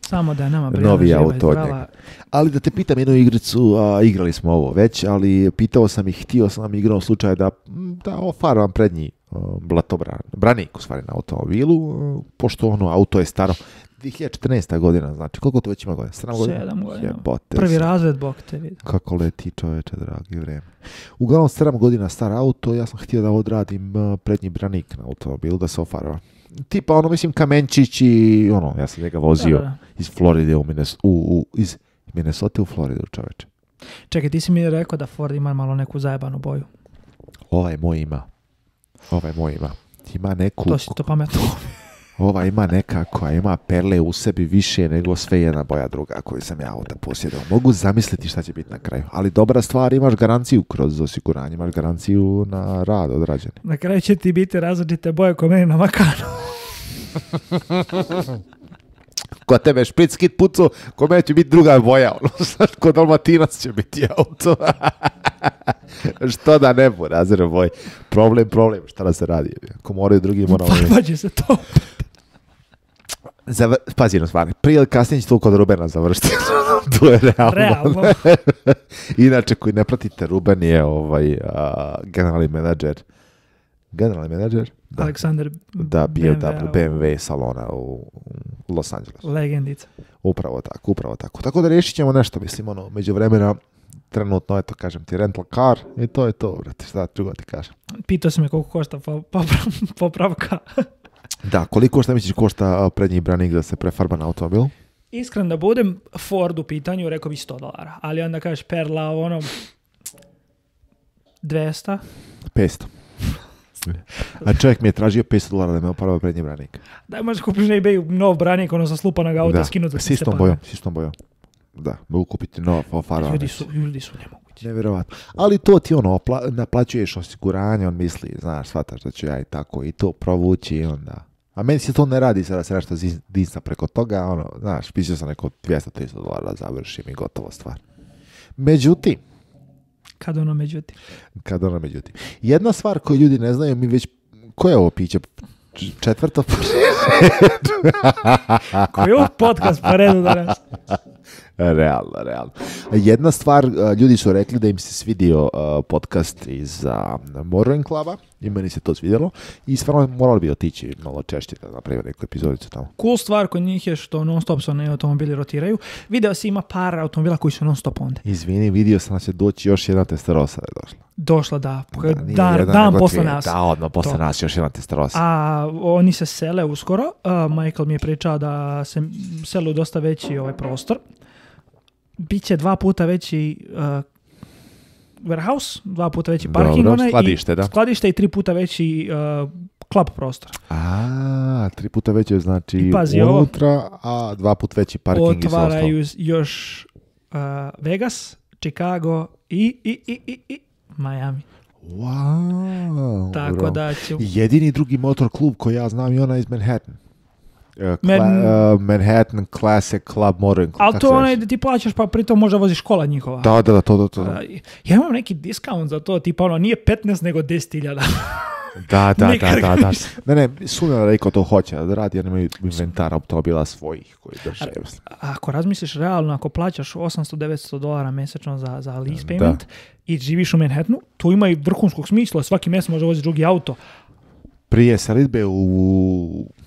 Speaker 7: Samo da je nama prijela
Speaker 6: Novi
Speaker 7: živa i
Speaker 6: auto od
Speaker 7: zdrava.
Speaker 6: njega. Ali da te pitam jednu igricu, a, igrali smo ovo već, ali pitao sam ih, htio sam igrom slučaja da, m, da ofaram prednji uh, blatobran, branik u stvari na automobilu, uh, pošto ono auto je staro 2014. godina, znači koliko to već ima godina? 7 godina?
Speaker 7: Sedam godina.
Speaker 6: Jebote,
Speaker 7: Prvi
Speaker 6: sam.
Speaker 7: razred, bok te vidi.
Speaker 6: Kako leti čoveče, dragi vreme. Uglavnom, 7 godina star auto, ja sam htio da odradim uh, prednji branik na automobilu, da se ofara. Tipa, ono, mislim, kamenčić i ono, ja sam njega vozio
Speaker 7: Da, da, da.
Speaker 6: iz Floride u, Mines, u, u iz Minnesota u Floridu, čoveče.
Speaker 7: Čekaj, ti si mi rekao da Ford ima malo neku zajebanu boju.
Speaker 6: Ovaj moj ima. Ovaj moj ima. Ima neku,
Speaker 7: To si to pametno.
Speaker 6: ova ima neka koja ima perle u sebi više nego sve jedna boja druga koju sam ja ovdje posjedao. Mogu zamisliti šta će biti na kraju. Ali dobra stvar, imaš garanciju kroz osiguranje, imaš garanciju na rad odrađen.
Speaker 7: Na kraju će ti biti različite boje ko meni na Makanu.
Speaker 6: Ko tebe špic kit pucu, ko mene će biti druga boja, ono, znaš, ko dalmatinac će biti auto. Što da ne bu, razre boj. Problem, problem, šta da se radi. Ako moraju drugi, moramo mi.
Speaker 7: Pa će se to.
Speaker 6: Zavr... Pazi jednu stvar, prije ili kasnije će to kod Rubena završiti. to je realno.
Speaker 7: Realno.
Speaker 6: Inače, koji ne pratite, Ruben je ovaj, a, generalni menadžer. Generalni menadžer? Da,
Speaker 7: Aleksandar
Speaker 6: da bio
Speaker 7: BMW-a,
Speaker 6: BMW, BMW salona u u Los Angelesu.
Speaker 7: Legendica.
Speaker 6: Upravo tako, upravo tako. Tako da rješit ćemo nešto, mislim, ono, među vremena, trenutno, eto, kažem ti, rental car i to je to, brate, šta drugo ti kažem.
Speaker 7: Pitao si me koliko košta po- popra- popravka.
Speaker 6: Da, koliko šta misliš košta a, prednji branik da se prefarba na automobil?
Speaker 7: Iskren da budem, Ford u pitanju rekao bi 100 dolara. Ali onda kažeš Perla ono, u onom 200.
Speaker 6: 500. A čovjek mi je tražio 500 dolara da me oparava prednji branik.
Speaker 7: Daj možeš kupiš na eBayu nov branik, ono sa slupanog auta,
Speaker 6: da,
Speaker 7: skinut za
Speaker 6: s
Speaker 7: tiste
Speaker 6: istom
Speaker 7: pare.
Speaker 6: bojom, s istom bojom. Da, mogu kupiti nova ofarana.
Speaker 7: Ljudi su, ljudi su nemogući.
Speaker 6: Nevjerovatno. Ali to ti ono, opla- naplaćuješ osiguranje, on misli, znaš, shvataš da ću ja i tako i to provući i onda. A meni se to ne radi sada se nešto ziz- dizna preko toga, ono, znaš, pisao sam neko 200-300 dolara, završim i gotovo stvar. Međutim,
Speaker 7: Kad ono međutim.
Speaker 6: kad ono međutim, jedna stvar koju ljudi ne znaju, mi već, koje je ovo piće? Č- Četvrto?
Speaker 7: Koji je ovo podcast po redu danas?
Speaker 6: realno, realno. Jedna stvar, a, ljudi su rekli da im se svidio a, podcast iz a, Morning Cluba i meni se to svidjelo i stvarno morali bi otići malo češće da napravim neku epizodicu tamo.
Speaker 7: Cool stvar kod njih je što non stop se oni automobili rotiraju. Video si ima par automobila koji su non stop onda.
Speaker 6: Izvini, vidio sam da će doći još jedna testarosa da je došla.
Speaker 7: Došla da,
Speaker 6: Da,
Speaker 7: dan,
Speaker 6: nije
Speaker 7: dan,
Speaker 6: jedna, nego
Speaker 7: posle
Speaker 6: dvije.
Speaker 7: nas.
Speaker 6: Da, odmah posle
Speaker 7: To.
Speaker 6: nas još jedna testarosa.
Speaker 7: A oni se sele uskoro. Uh, Michael mi je pričao da se selu dosta veći ovaj prostor. Biće dva puta veći uh, warehouse, dva puta veći
Speaker 6: Dobro,
Speaker 7: parking. onaj i-
Speaker 6: skladište, da.
Speaker 7: Skladište i tri puta veći uh, klub prostor.
Speaker 6: A, tri puta veće znači
Speaker 7: I pazi ovo.
Speaker 6: unutra, a dva puta veći parking i sve ostalo.
Speaker 7: Otvaraju još uh, Vegas, Chicago i, i, i, i, i Miami.
Speaker 6: Wow,
Speaker 7: Tako
Speaker 6: bro.
Speaker 7: da ću...
Speaker 6: Jedini drugi motor klub koji ja znam je ona iz Manhattan. E, Cla-
Speaker 7: Men-
Speaker 6: e, Manhattan Classic Club Motoring Club.
Speaker 7: Ali
Speaker 6: kako
Speaker 7: to
Speaker 6: se
Speaker 7: je onaj
Speaker 6: zove?
Speaker 7: da ti plaćaš pa pritom možda voziš kola njihova.
Speaker 6: Da, da, da, to, to, to.
Speaker 7: A, Ja imam neki diskount za to, tipa ono, nije 15 nego 10.000.
Speaker 6: Da, da, da,
Speaker 7: Nikad ga
Speaker 6: da, da.
Speaker 7: nisam-
Speaker 6: Ne, ne, sumnjam da rekao to hoće, da radi, oni imaju inventar automobila svojih koji drže, mislim.
Speaker 7: A ako razmisliš realno, ako plaćaš 800-900 dolara mesečno za, za lease payment i živiš u Manhattanu, to ima i vrhunskog smisla, svaki mesec može voziti drugi auto.
Speaker 6: Prije selitbe u...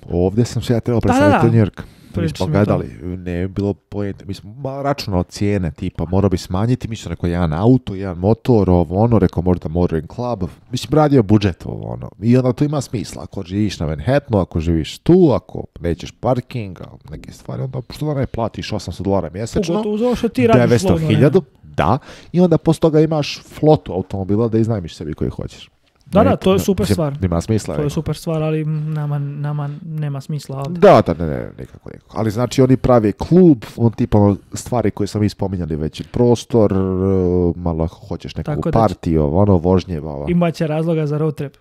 Speaker 6: Ovdje sam se ja trebao
Speaker 7: Pa da,
Speaker 6: preseliti
Speaker 7: da.
Speaker 6: u New York. To
Speaker 7: Pričali
Speaker 6: nismo
Speaker 7: smo
Speaker 6: gledali, ne bi bilo pojenta. Mi smo ma- računao cijene, tipa, morao bi smanjiti, mi su rekao, jedan auto, jedan motor, ovo ono, rekao možda motoring club. Mislim, radio budžet ovo ono. I onda to ima smisla, ako živiš na Manhattanu, ako živiš tu, ako nećeš parking, a neke stvari, onda što da ne platiš 800 dolara mjesečno.
Speaker 7: Pogotovo zato što ti radiš slobodno.
Speaker 6: 900.000, da, i onda posle toga imaš flotu automobila da iznajmiš sebi koji hoćeš.
Speaker 7: Da, da,
Speaker 6: Ne-
Speaker 7: to je
Speaker 6: ne-
Speaker 7: super
Speaker 6: mislim,
Speaker 7: stvar.
Speaker 6: Nema smisla.
Speaker 7: To je
Speaker 6: neko.
Speaker 7: super stvar, ali nama, nama nema smisla ovdje.
Speaker 6: Da, da, ne, ne, nikako, nikako. Ali znači oni pravi klub, on tipa ono, stvari koje sam ispominjali već, prostor, e, malo ako hoćeš nekakvu
Speaker 7: Tako da će-
Speaker 6: partiju, ovo, ono, vožnje, ovo.
Speaker 7: Imaće razloga za road trip.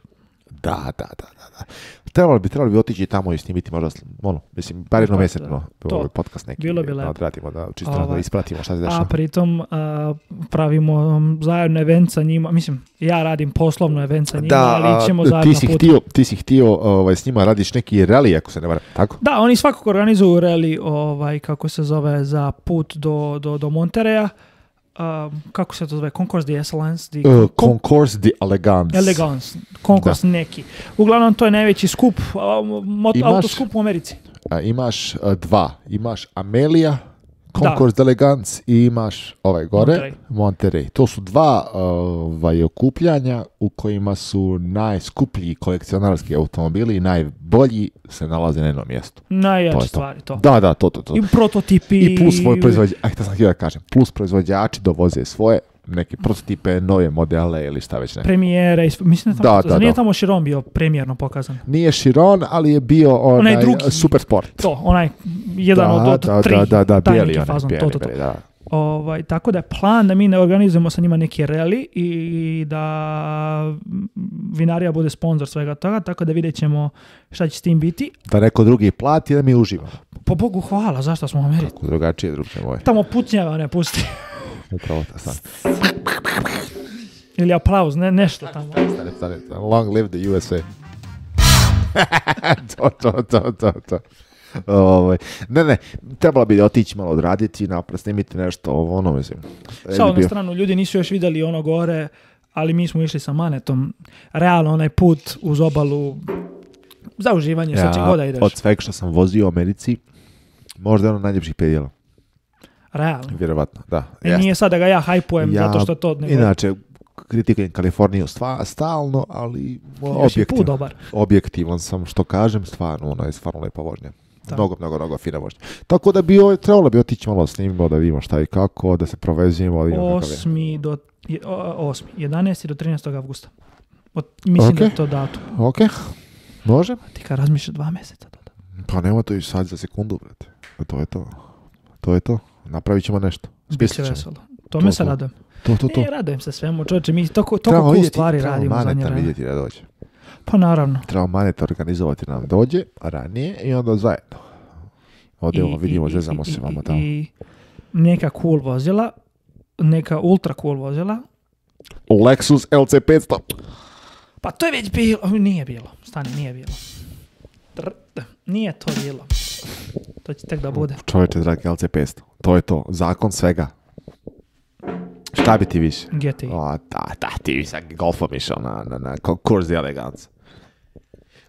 Speaker 6: Da, da, da, da, da. Trebalo bi, trebalo bi otići tamo i snimiti možda, sl- ono, mislim, bar jedno
Speaker 7: Pa,
Speaker 6: mjesečno
Speaker 7: da. To.
Speaker 6: ovaj podcast neki.
Speaker 7: Bilo bi
Speaker 6: da
Speaker 7: lepo.
Speaker 6: odradimo, da, čisto da
Speaker 7: Ovaj.
Speaker 6: ispratimo šta se
Speaker 7: A
Speaker 6: dešava.
Speaker 7: pritom a, pravimo um, zajedno event sa njima. Mislim, ja radim poslovno event sa njima, ali ćemo
Speaker 6: a,
Speaker 7: zajedno
Speaker 6: ti si
Speaker 7: put.
Speaker 6: htio, ti si htio ovaj, s njima radiš neki rally, ako se ne varam, tako?
Speaker 7: Da, oni svakako organizuju reli ovaj, kako se zove, za put do, do, do Montereja. A, kako se to zove? Concours de Excellence? di-
Speaker 6: Uh, Concourse de Elegance.
Speaker 7: Elegance, konkurs neki. Uglavnom, to je najveći skup, a, mot,
Speaker 6: Imaš-
Speaker 7: autoskup u Americi.
Speaker 6: A, imaš uh, dva. Imaš Amelia, Concourse de Elegance i imaš ovaj gore,
Speaker 7: Monterey.
Speaker 6: Monterey. To su dva uh, ovaj, okupljanja u kojima su najskuplji kolekcionarski automobili i najbolji se nalaze na jednom mjestu.
Speaker 7: Najjače
Speaker 6: To je to.
Speaker 7: stvari, to.
Speaker 6: Da, da, to, to, to.
Speaker 7: I
Speaker 6: I,
Speaker 7: prototipi.
Speaker 6: plus svoj proizvođač, aj, to sam htio da kažem, plus proizvođači dovoze svoje neke prototipe, nove modele ili šta već ne.
Speaker 7: Premijere, i sv- mislim da, tamo,
Speaker 6: Da, da,
Speaker 7: nije
Speaker 6: da.
Speaker 7: tamo Širom bio premijerno pokazan.
Speaker 6: Nije Chiron, ali je bio onaj,
Speaker 7: Onaj drugi.
Speaker 6: super sport.
Speaker 7: To, onaj, jedan od, od tri,
Speaker 6: da, da, da,
Speaker 7: taj
Speaker 6: bijeli
Speaker 7: neki
Speaker 6: onaj,
Speaker 7: fazon,
Speaker 6: bijeli,
Speaker 7: to, to, to.
Speaker 6: bijeli, da.
Speaker 7: Ovaj, tako da je plan da mi ne organizujemo sa njima neki reli i da vinarija bude sponsor svega toga, tako da vidjet ćemo šta će s tim biti.
Speaker 6: Da neko drugi plati, da mi uživamo.
Speaker 7: Po Bogu hvala, zašto smo u Americi?
Speaker 6: Kako drugačije, druge moje.
Speaker 7: Tamo pucnjava ne pusti.
Speaker 6: Upravo to sam.
Speaker 7: Ili aplauz, ne, nešto tamo.
Speaker 6: Stane, stane, stane. Long live the USA. to, to, to, to, to. Ovaj, ne, ne, trebalo bi da otići malo odraditi, napred snimiti nešto, ovo ono, mislim. E,
Speaker 7: Samo
Speaker 6: bi
Speaker 7: na
Speaker 6: bio-
Speaker 7: stranu, ljudi nisu još vidjeli ono gore, ali mi smo išli sa manetom. Realno, onaj put uz obalu za uživanje, sad će
Speaker 6: Ja,
Speaker 7: god da ideš.
Speaker 6: Od svega što sam vozio u Americi, možda je ono najljepših pedijela.
Speaker 7: Realno.
Speaker 6: Vjerovatno, da.
Speaker 7: E,
Speaker 6: jeste.
Speaker 7: nije sad da ga ja hajpujem
Speaker 6: Ja,
Speaker 7: zato što to... Nego,
Speaker 6: Inače, kritikujem Kaliforniju stva, stalno, ali o,
Speaker 7: još je put
Speaker 6: objektivno,
Speaker 7: dobar.
Speaker 6: objektivan sam što kažem, stvarno, ono je stvarno lepa vožnja.
Speaker 7: Da.
Speaker 6: Mnogo, mnogo, mnogo fina vožnja. Tako da bi ovo, trebalo bi otići malo snimimo da vidimo šta i kako, da se provezujemo, da vidimo kakav je.
Speaker 7: 8. do... je- o- 8. 11. do 13. avgusta. Od, mislim da je
Speaker 6: Ok.
Speaker 7: to datum.
Speaker 6: Ok, može?
Speaker 7: Ti kad razmišljaš dva meseca. to da.
Speaker 6: Pa nema to i sad za sekundu, brate. E, To je to. To je to. Napravit ćemo nešto.
Speaker 7: Biće
Speaker 6: Smislit ćemo.
Speaker 7: veselo. To
Speaker 6: To,
Speaker 7: me se
Speaker 6: to.
Speaker 7: radujem.
Speaker 6: To, to, to.
Speaker 7: E, radujem se svemu, čovječe. Mi toko,
Speaker 6: Trebamo
Speaker 7: toko cool
Speaker 6: vidjeti-
Speaker 7: stvari
Speaker 6: trebamo
Speaker 7: radimo u zadnje
Speaker 6: Maneta
Speaker 7: vreme.
Speaker 6: vidjeti da dođe.
Speaker 7: Pa naravno.
Speaker 6: Treba maneta organizovati da nam dođe ranije i onda zajedno. Odemo,
Speaker 7: I-
Speaker 6: vidimo,
Speaker 7: i-
Speaker 6: zezamo
Speaker 7: i-
Speaker 6: se
Speaker 7: i-
Speaker 6: vamo
Speaker 7: i-
Speaker 6: tamo.
Speaker 7: I neka cool vozila, neka ultra cool vozila,
Speaker 6: Lexus LC500.
Speaker 7: pa to je već bilo, nije bilo, stani, nije bilo. Tr- Nije to bilo. To će
Speaker 6: Hm.
Speaker 7: tek da bude.
Speaker 6: Čovječe, dragi LC500. To je to. Zakon svega. Šta bi ti više?
Speaker 7: GTI.
Speaker 6: O, da, da, ti bi sa golfom išao na, na, na konkurs za elegancu.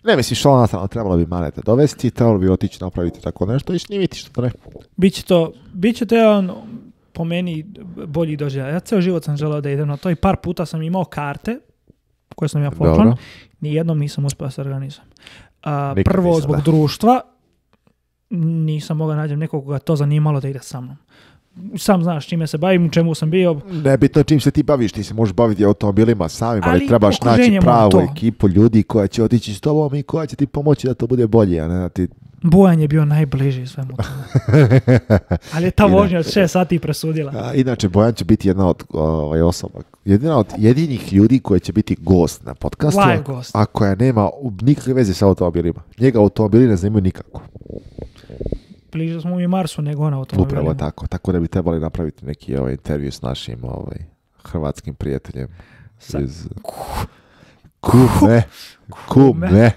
Speaker 6: Ne mislim što ona strana, trebalo bi maneta dovesti, trebalo bi otići napraviti tako nešto i snimiti što da ne.
Speaker 7: Biće to, biće to jedan po meni bolji doživljaj. Ja ceo život sam želeo da idem na to i par puta sam imao karte koje sam ja
Speaker 6: Dobro.
Speaker 7: poklon. Nijednom nisam uspio da se organizujem. A,
Speaker 6: Nikad
Speaker 7: prvo
Speaker 6: nisam,
Speaker 7: zbog
Speaker 6: da.
Speaker 7: društva nisam mogao da nađem nekog koga to zanimalo da ide sa mnom. Sam znaš čime se bavim, čemu sam bio.
Speaker 6: Nebitno čim se ti baviš, ti se možeš baviti automobilima samim, ali,
Speaker 7: Ali
Speaker 6: trebaš naći
Speaker 7: okruženje mora
Speaker 6: pravu
Speaker 7: to.
Speaker 6: ekipu ljudi koja će otići s tobom i koja će ti pomoći da to bude bolje, a ne da ti
Speaker 7: Bojan je bio najbliži svemu tome. Ali je ta vožnja od 6 sati presudila.
Speaker 6: A, inače, Bojan će biti jedna od ovaj, osoba, jedna od jedinih ljudi koja će biti gost na podcastu,
Speaker 7: Live gost.
Speaker 6: a koja nema nikakve veze sa automobilima. Njega automobili ne zanimaju nikako.
Speaker 7: Bliže smo i Marsu nego ona automobilima.
Speaker 6: Upravo tako. Tako da bi trebali napraviti neki ovaj, intervju s našim ovaj, hrvatskim prijateljem.
Speaker 7: Sa-
Speaker 6: Iz... Kume. Kume.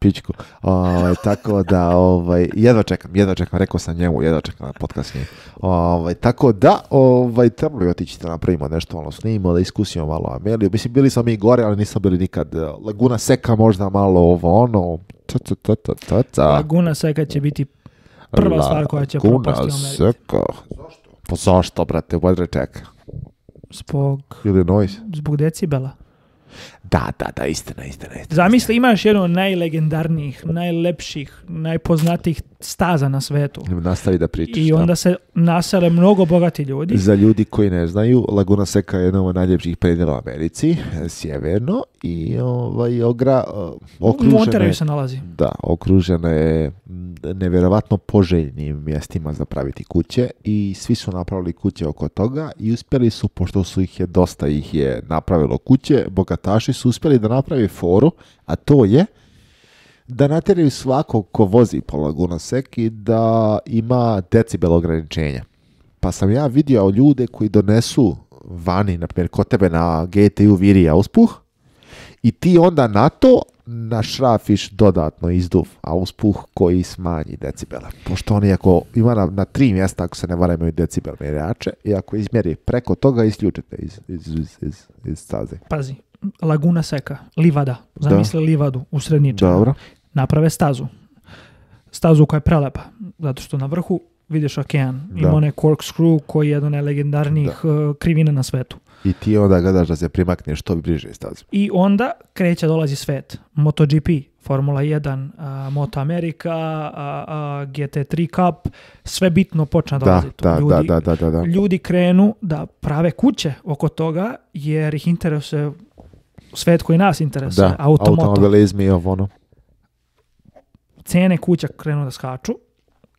Speaker 6: Pičku. Ovaj, tako da, ovaj, jedva čekam, jedva čekam, rekao sam njemu, jedva čekam na podcast s njim. Ovaj, tako da, ovaj, trebalo bi otići da napravimo nešto, ono, snimimo, da iskusimo malo Ameliju. Mislim, bili smo mi gore, ali nismo bili nikad. eh, Laguna Seka možda malo ovo, ono, ta, ta, ta, ta, ta, ta.
Speaker 7: Laguna Seca će biti prva stvar koja će
Speaker 6: Laguna
Speaker 7: propasti u Americi.
Speaker 6: Seca. Pa zašto, brate, Vodre čeka.
Speaker 7: Zbog,
Speaker 6: Illinois.
Speaker 7: zbog decibela.
Speaker 6: Da, da, da, istina, istina, istina.
Speaker 7: Zamisli, imaš jednu od najlegendarnijih, najlepših, najpoznatijih staza na svetu.
Speaker 6: Nastavi da pričaš.
Speaker 7: I
Speaker 6: da.
Speaker 7: onda se nasele mnogo bogati ljudi.
Speaker 6: Za ljudi koji ne znaju, Laguna Seca je jedan od najljepših predjela u Americi, e, sjeverno, i ovaj, ogra, e,
Speaker 7: U
Speaker 6: okružena je,
Speaker 7: Monteraju se nalazi.
Speaker 6: da, okružena je m, nevjerovatno poželjnim mjestima za praviti kuće i svi su napravili kuće oko toga i uspjeli su, pošto su ih je dosta ih je napravilo kuće, bogataši su uspjeli da napravi foru, a to je da natjeraju svakog ko vozi po Laguna Seki da ima decibel ograničenja. Pa sam ja vidio ljude koji donesu vani, na primjer, kod tebe na GTU virija uspuh i ti onda na to našrafiš dodatno izduv, a uspuh koji smanji decibele. Pošto oni ako ima na, na tri mjesta, ako se ne varam, imaju decibel mjerače i ako izmjeri preko toga, isključite iz, iz, iz, iz, iz staze.
Speaker 7: Pazi, Laguna Seca, Livada. Zamisli Livadu u Sredničanu.
Speaker 6: Dobro.
Speaker 7: Naprave stazu. Stazu koja je prelepa. Zato što na vrhu vidiš okean.
Speaker 6: Da.
Speaker 7: Ima onaj corkscrew koji je jedan od najlegendarnijih eh, krivina na svetu.
Speaker 6: I ti onda gledaš da se primakneš što bliže stazi.
Speaker 7: I onda kreće, dolazi svet. MotoGP, Formula 1, a, Moto Amerika, a, a, GT3 Cup, sve bitno počne
Speaker 6: Da,
Speaker 7: dolaziti.
Speaker 6: da,
Speaker 7: ljudi,
Speaker 6: da, da, da, da.
Speaker 7: ljudi krenu da prave kuće oko toga, jer ih interesuje svet koji nas interesuje,
Speaker 6: Da,
Speaker 7: automoto.
Speaker 6: automobilizmi i ovo ono.
Speaker 7: Cene kuća krenu da skaču,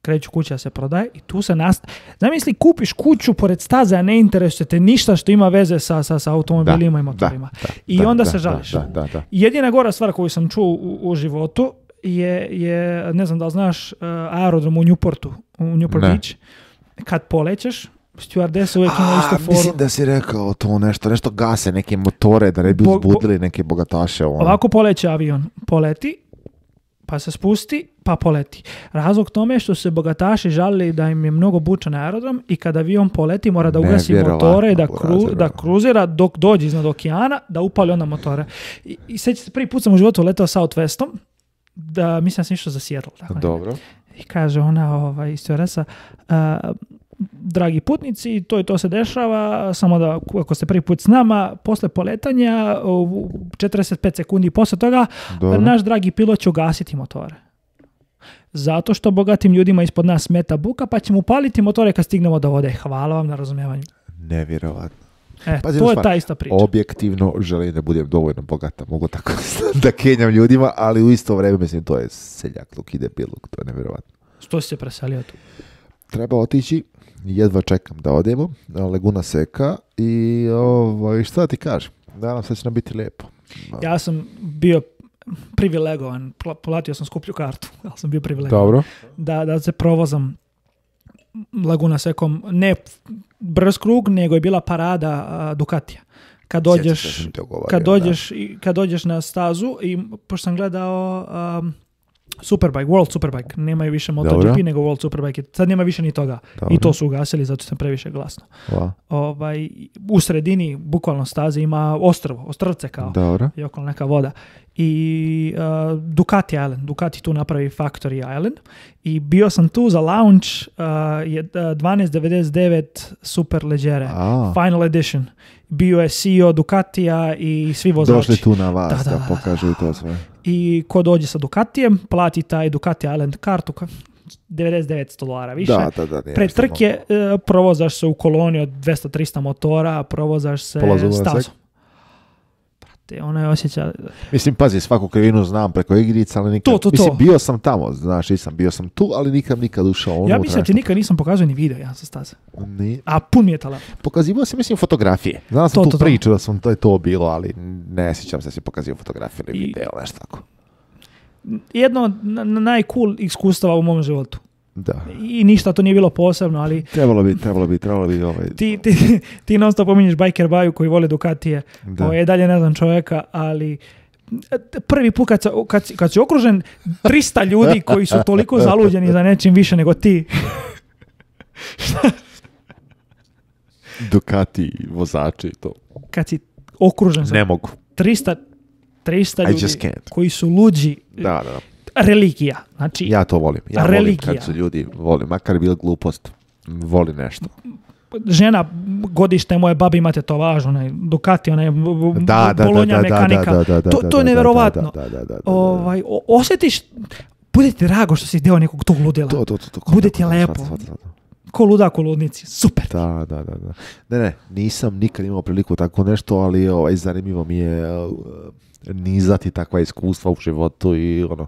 Speaker 7: kreću kuća da se prodaje i tu se nast... Zamisli, kupiš kuću pored staze, a ne interesuje te ništa što ima veze sa, sa, sa automobilima i motorima.
Speaker 6: da,
Speaker 7: I
Speaker 6: da,
Speaker 7: onda
Speaker 6: da,
Speaker 7: se
Speaker 6: da,
Speaker 7: žališ.
Speaker 6: Da, da, da.
Speaker 7: Jedina gora stvar koju sam čuo u, u životu je, je, ne znam da li znaš, eh, aerodrom u Newportu, u Newport
Speaker 6: Ne.
Speaker 7: Beach. Kad polećeš, stewardesa uvijek ima
Speaker 6: A,
Speaker 7: istu
Speaker 6: mislim
Speaker 7: foru.
Speaker 6: da si rekao to nešto, nešto gase, neke motore da ne bi
Speaker 7: Bo- bo-
Speaker 6: uzbudili neke bogataše. Ono.
Speaker 7: Ovako poleće avion, poleti, pa se spusti, pa poleti. Razlog tome je što su se bogataši žalili da im je mnogo bučan aerodrom i kada avion poleti mora da ugasi
Speaker 6: Nevjerovatno,
Speaker 7: motore, da,
Speaker 6: brate,
Speaker 7: kru, da
Speaker 6: brate.
Speaker 7: kruzira dok dođe iznad okeana, da upali onda motore. I, i sjećam se, prvi put sam u životu letao Southwestom, da mislim da sam išao za Seattle. tako nekako.
Speaker 6: Dobro.
Speaker 7: I kaže ona, ovaj, istoresa, dragi putnici, to i to se dešava, samo da ku- ako ste prvi put s nama, posle poletanja, u 45 sekundi posle toga,
Speaker 6: Dobro.
Speaker 7: pa naš dragi pilot će ugasiti motore. Zato što bogatim ljudima ispod nas smeta buka, pa ćemo upaliti motore kad stignemo do vode. Hvala vam na razumevanju.
Speaker 6: Nevjerovatno.
Speaker 7: E,
Speaker 6: Pazi jednu
Speaker 7: to je
Speaker 6: stvar,
Speaker 7: ta ista priča.
Speaker 6: Objektivno želim da budem dovoljno bogata, mogu tako da kenjam ljudima, ali u isto vreme mislim to je seljak luk i debiluk, to je nevjerovatno.
Speaker 7: Što si se preselio tu?
Speaker 6: treba otići, jedva čekam da odemo, Laguna Seka i ovaj, šta da ti kažem, nadam se da će nam biti lijepo.
Speaker 7: Ja sam bio privilegovan, Pla- platio sam skuplju kartu, ali sam bio privilegovan. da, da se provozam Laguna Sekom, ne brz krug, nego je bila parada a, Ducatija. Kad
Speaker 6: Sjećam se da
Speaker 7: dođeš,
Speaker 6: sam te ogovario,
Speaker 7: kad
Speaker 6: da.
Speaker 7: dođeš, i, kad dođeš na stazu i pošto sam gledao um, Superbike, World Superbike, nemaju više MotoGP
Speaker 6: Dobro.
Speaker 7: nego World Superbike, sad nema više ni toga.
Speaker 6: Dobro.
Speaker 7: I to su ugasili zato sam previše glasno.
Speaker 6: Va,
Speaker 7: Ovaj, u sredini, bukvalno staze, ima ostrvo, ostrvce kao
Speaker 6: Dobro.
Speaker 7: i okolo neka voda. I uh, Ducati Island, Ducati tu napravi Factory Island i bio sam tu za launch uh, je- uh, 1299 Super Leggere,
Speaker 6: A.
Speaker 7: Final Edition. Bio je CEO Ducatija i svi vozači.
Speaker 6: Došli tu na vas da,
Speaker 7: Da, da, da,
Speaker 6: pokažu i to sve.
Speaker 7: I ko dođe sa Ducatijem, plati taj Ducati Island kartu, ka- 99 dolara više.
Speaker 6: Da, da, da. nije ono.
Speaker 7: Pre
Speaker 6: ništa
Speaker 7: trke e, provozaš se u koloni od 200-300 motora, provozaš se
Speaker 6: Pola zubna
Speaker 7: stazom.
Speaker 6: sek.
Speaker 7: brate, ona je osjeća...
Speaker 6: Mislim, pazi, svaku krivinu znam preko igrica, ali nikad...
Speaker 7: To, to, to.
Speaker 6: Mislim, bio sam tamo, znaš, nisam, bio sam tu, ali nikad, nikad ušao unutra.
Speaker 7: ja mislim da ti nikad nisam pokazao ni video, ja sam staza.
Speaker 6: Ni,
Speaker 7: A pun mi je telefon.
Speaker 6: pokazivao si, mislim, fotografije. Znam sam
Speaker 7: To,
Speaker 6: tu
Speaker 7: to, to.
Speaker 6: priču da sam to je to bilo, ali ne sjećam se da si pokazivao fotografije ili
Speaker 7: I-
Speaker 6: video, nešto tako.
Speaker 7: Jedno od na- na- najcool iskustava u mom životu.
Speaker 6: Da.
Speaker 7: I ništa, to nije bilo posebno, ali
Speaker 6: Trebalo bi, trebalo bi, trebalo bi ovaj...
Speaker 7: ti, ti, ti non stop pominješ Biker Baju koji vole Ducatije.
Speaker 6: Da.
Speaker 7: Ovo, ja dalje ne znam čovjeka, ali e, prvi put kad, sa- kad, si- kad si okružen 300 ljudi koji su toliko zaluđeni za nečim više nego ti,
Speaker 6: Ducati, vozači i to.
Speaker 7: kad si okružen sa
Speaker 6: Ne mogu.
Speaker 7: 300, 300
Speaker 6: I
Speaker 7: ljudi
Speaker 6: just can't.
Speaker 7: koji su luđi,
Speaker 6: Da, da, da.
Speaker 7: religija. Znači,
Speaker 6: Ja to volim. Ja
Speaker 7: Religija.
Speaker 6: volim kad su ljudi, volim, makar bilo glupost, voli nešto.
Speaker 7: žena godište moje babi imate to važno, onaj Ducati, onaj
Speaker 6: Da, da,
Speaker 7: bolonja
Speaker 6: da, da,
Speaker 7: mekanika.
Speaker 6: da, da, da,
Speaker 7: to,
Speaker 6: da,
Speaker 7: to je
Speaker 6: da,
Speaker 7: neverovatno.
Speaker 6: da, da, da, da, da, da.
Speaker 7: Ovaj, o- osjetiš, bude ti drago što si deo nekog tog ludila.
Speaker 6: To, to, to, to.
Speaker 7: Bude ti
Speaker 6: Kako-
Speaker 7: lepo.
Speaker 6: shvatam, shvatam, shvatam.
Speaker 7: Ko luda, ko ludnici. Super.
Speaker 6: Da, da, da, da. Ne, ne, nisam nikad imao priliku tako nešto, ali ovaj, zanimljivo mi je uh, nizati takva iskustva u životu i ono,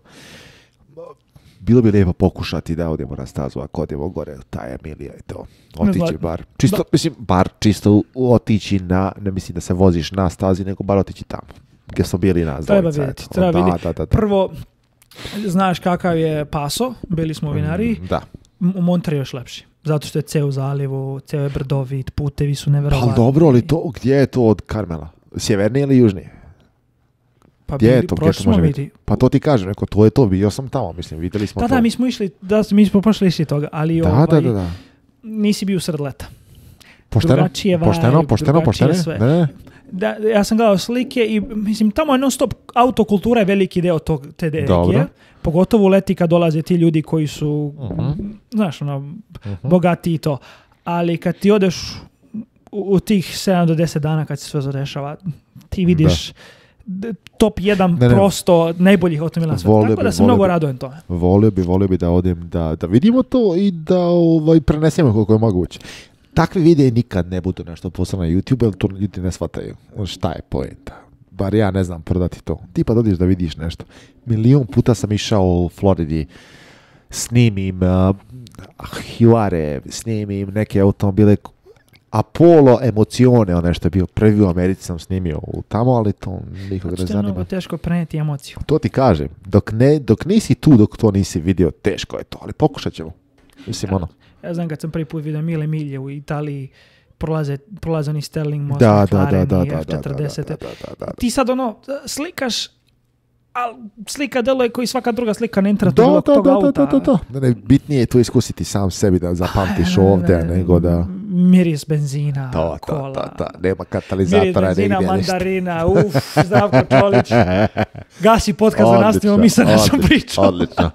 Speaker 6: bilo bi lijepo pokušati da odemo na stazu, ako odemo gore, ta Emilija i to, otići
Speaker 7: Zlatno.
Speaker 6: bar. Čisto, mislim, bar čisto u- u- otići na, ne mislim da se voziš na stazi, nego bar otići tamo, gdje smo bili nas
Speaker 7: Treba
Speaker 6: dvojica,
Speaker 7: vidjeti,
Speaker 6: eto.
Speaker 7: treba
Speaker 6: da,
Speaker 7: vidjeti.
Speaker 6: Da, da, da.
Speaker 7: Prvo, znaš kakav je paso, bili smo u vinariji,
Speaker 6: Mm, Da.
Speaker 7: M- u Montreju je još lepši. Zato što je ceo u zalivu, ceo je brdovit, putevi su
Speaker 6: Pa ali
Speaker 7: neverovatni.
Speaker 6: dobro, ali to, gdje je to od Karmela? Sjevernije ili južnije?
Speaker 7: Pa
Speaker 6: Gdje je
Speaker 7: bili-
Speaker 6: to? Gdje
Speaker 7: prošli
Speaker 6: to
Speaker 7: smo
Speaker 6: može
Speaker 7: vidi.
Speaker 6: biti? Pa to ti kažem, neko, to je to, bio sam tamo, mislim, vidjeli smo
Speaker 7: Da,
Speaker 6: to.
Speaker 7: da, mi smo išli, da, mi smo pošli išli toga, ali
Speaker 6: da,
Speaker 7: ovaj,
Speaker 6: da, da, da.
Speaker 7: nisi bio u sred leta.
Speaker 6: Pošteno,
Speaker 7: drugačije vibe,
Speaker 6: pošteno, pošteno,
Speaker 7: drugačije
Speaker 6: pošteno,
Speaker 7: sve.
Speaker 6: ne, ne,
Speaker 7: Da, ja sam gledao slike i mislim tamo je non stop autokultura je veliki deo tog te regije.
Speaker 6: Dobro.
Speaker 7: Pogotovo u leti kad dolaze ti ljudi koji su
Speaker 6: Mhm.
Speaker 7: znaš ono bogati i to. Ali kad ti odeš u, u tih 7 do 10 dana kad se sve zadešava, ti vidiš d- top 1
Speaker 6: Ne, ne.
Speaker 7: prosto najboljih automobila na svetu.
Speaker 6: Volio
Speaker 7: Tako
Speaker 6: bi,
Speaker 7: da sam
Speaker 6: volio
Speaker 7: mnogo
Speaker 6: bi.
Speaker 7: radojem tome.
Speaker 6: Volio bi, volio bi da odem, da, da vidimo to i da ovaj, prenesemo koliko je moguće. Takvi videi nikad ne budu nešto posebno na YouTube, jer to ljudi ne shvataju. Šta je poenta? Bar ja ne znam prodati to. Ti pa dodiš da vidiš nešto. Milion puta sam išao u Floridi, snimim uh, Hiware, snimim neke automobile, Apollo emocione, ono što je bio prvi u Americi sam snimio u tamo, ali to nikoga ne
Speaker 7: Zato što je mnogo
Speaker 6: zanima.
Speaker 7: teško preneti emociju.
Speaker 6: To ti kažem, dok, ne, dok nisi tu, dok to nisi vidio, teško je to, ali pokušat ćemo. Mislim, ono,
Speaker 7: Ja znam kad sam prvi put vidio Mile Milje u Italiji, prolaze, prolaze oni Sterling most,
Speaker 6: da, da, da, da,
Speaker 7: McLareni,
Speaker 6: da, da, da, da, da,
Speaker 7: F40.
Speaker 6: da, da, da.
Speaker 7: Ti sad ono, slikaš, al slika deluje koji svaka druga slika ne entra
Speaker 6: Da,
Speaker 7: tog
Speaker 6: da,
Speaker 7: toga
Speaker 6: da, da,
Speaker 7: auta.
Speaker 6: da, da, da. Ne, ne, bitnije je to iskusiti sam sebi da zapamtiš
Speaker 7: Ne, ne, ne,
Speaker 6: ovdje,
Speaker 7: ne,
Speaker 6: nego da...
Speaker 7: Miris benzina,
Speaker 6: To, to,
Speaker 7: kola.
Speaker 6: to, to, nema
Speaker 7: Miris
Speaker 6: katalizatora, negdje
Speaker 7: benzina,
Speaker 6: ništa.
Speaker 7: mandarina, uf, Zdravko Čolić. Gasi podcast da nastavimo, mi sa našom
Speaker 6: odlično,
Speaker 7: pričom.
Speaker 6: Odlično.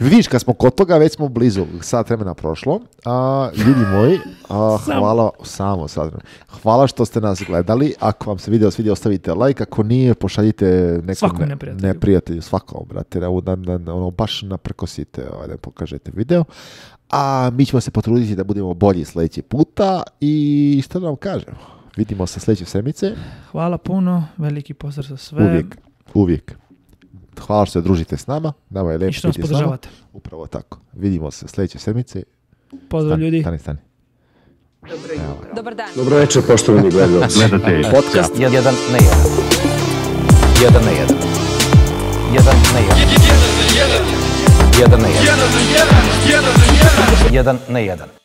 Speaker 6: Vidiš, kad smo kod toga, već smo blizu, sat vremena prošlo. A, ljudi moji, a, hvala, samo sat vremena. Hvala što ste nas gledali. Ako vam se video svidio, ostavite like. Ako nije, pošaljite nekom
Speaker 7: Svakom
Speaker 6: ne-
Speaker 7: neprijatelju.
Speaker 6: neprijatelju, svakom, brate. Da, da, da, da, ono, baš naprkosite, ovaj, da pokažete video. A mi ćemo se potruditi da budemo bolji sljedeći puta. I što da vam kažem? Vidimo se sljedeće sedmice.
Speaker 7: Hvala puno, veliki pozdrav za sve.
Speaker 6: Uvijek, uvijek. Hvala što se družite s nama. Nama je lepo
Speaker 7: I što nas
Speaker 6: biti s nama.
Speaker 7: podržavate.
Speaker 6: Upravo tako. Vidimo se sljedeće sedmice.
Speaker 7: Pozdrav
Speaker 6: Stani,
Speaker 7: ljudi.
Speaker 6: Stani, stani.
Speaker 1: Dobar dan.
Speaker 3: Dobro večer, poštovani gledalci. Podcast
Speaker 5: Jedan na jedan. Jedan na jedan. Jedan na jedan. Jedan na jedan. Jedan na jedan. Jedan na jedan.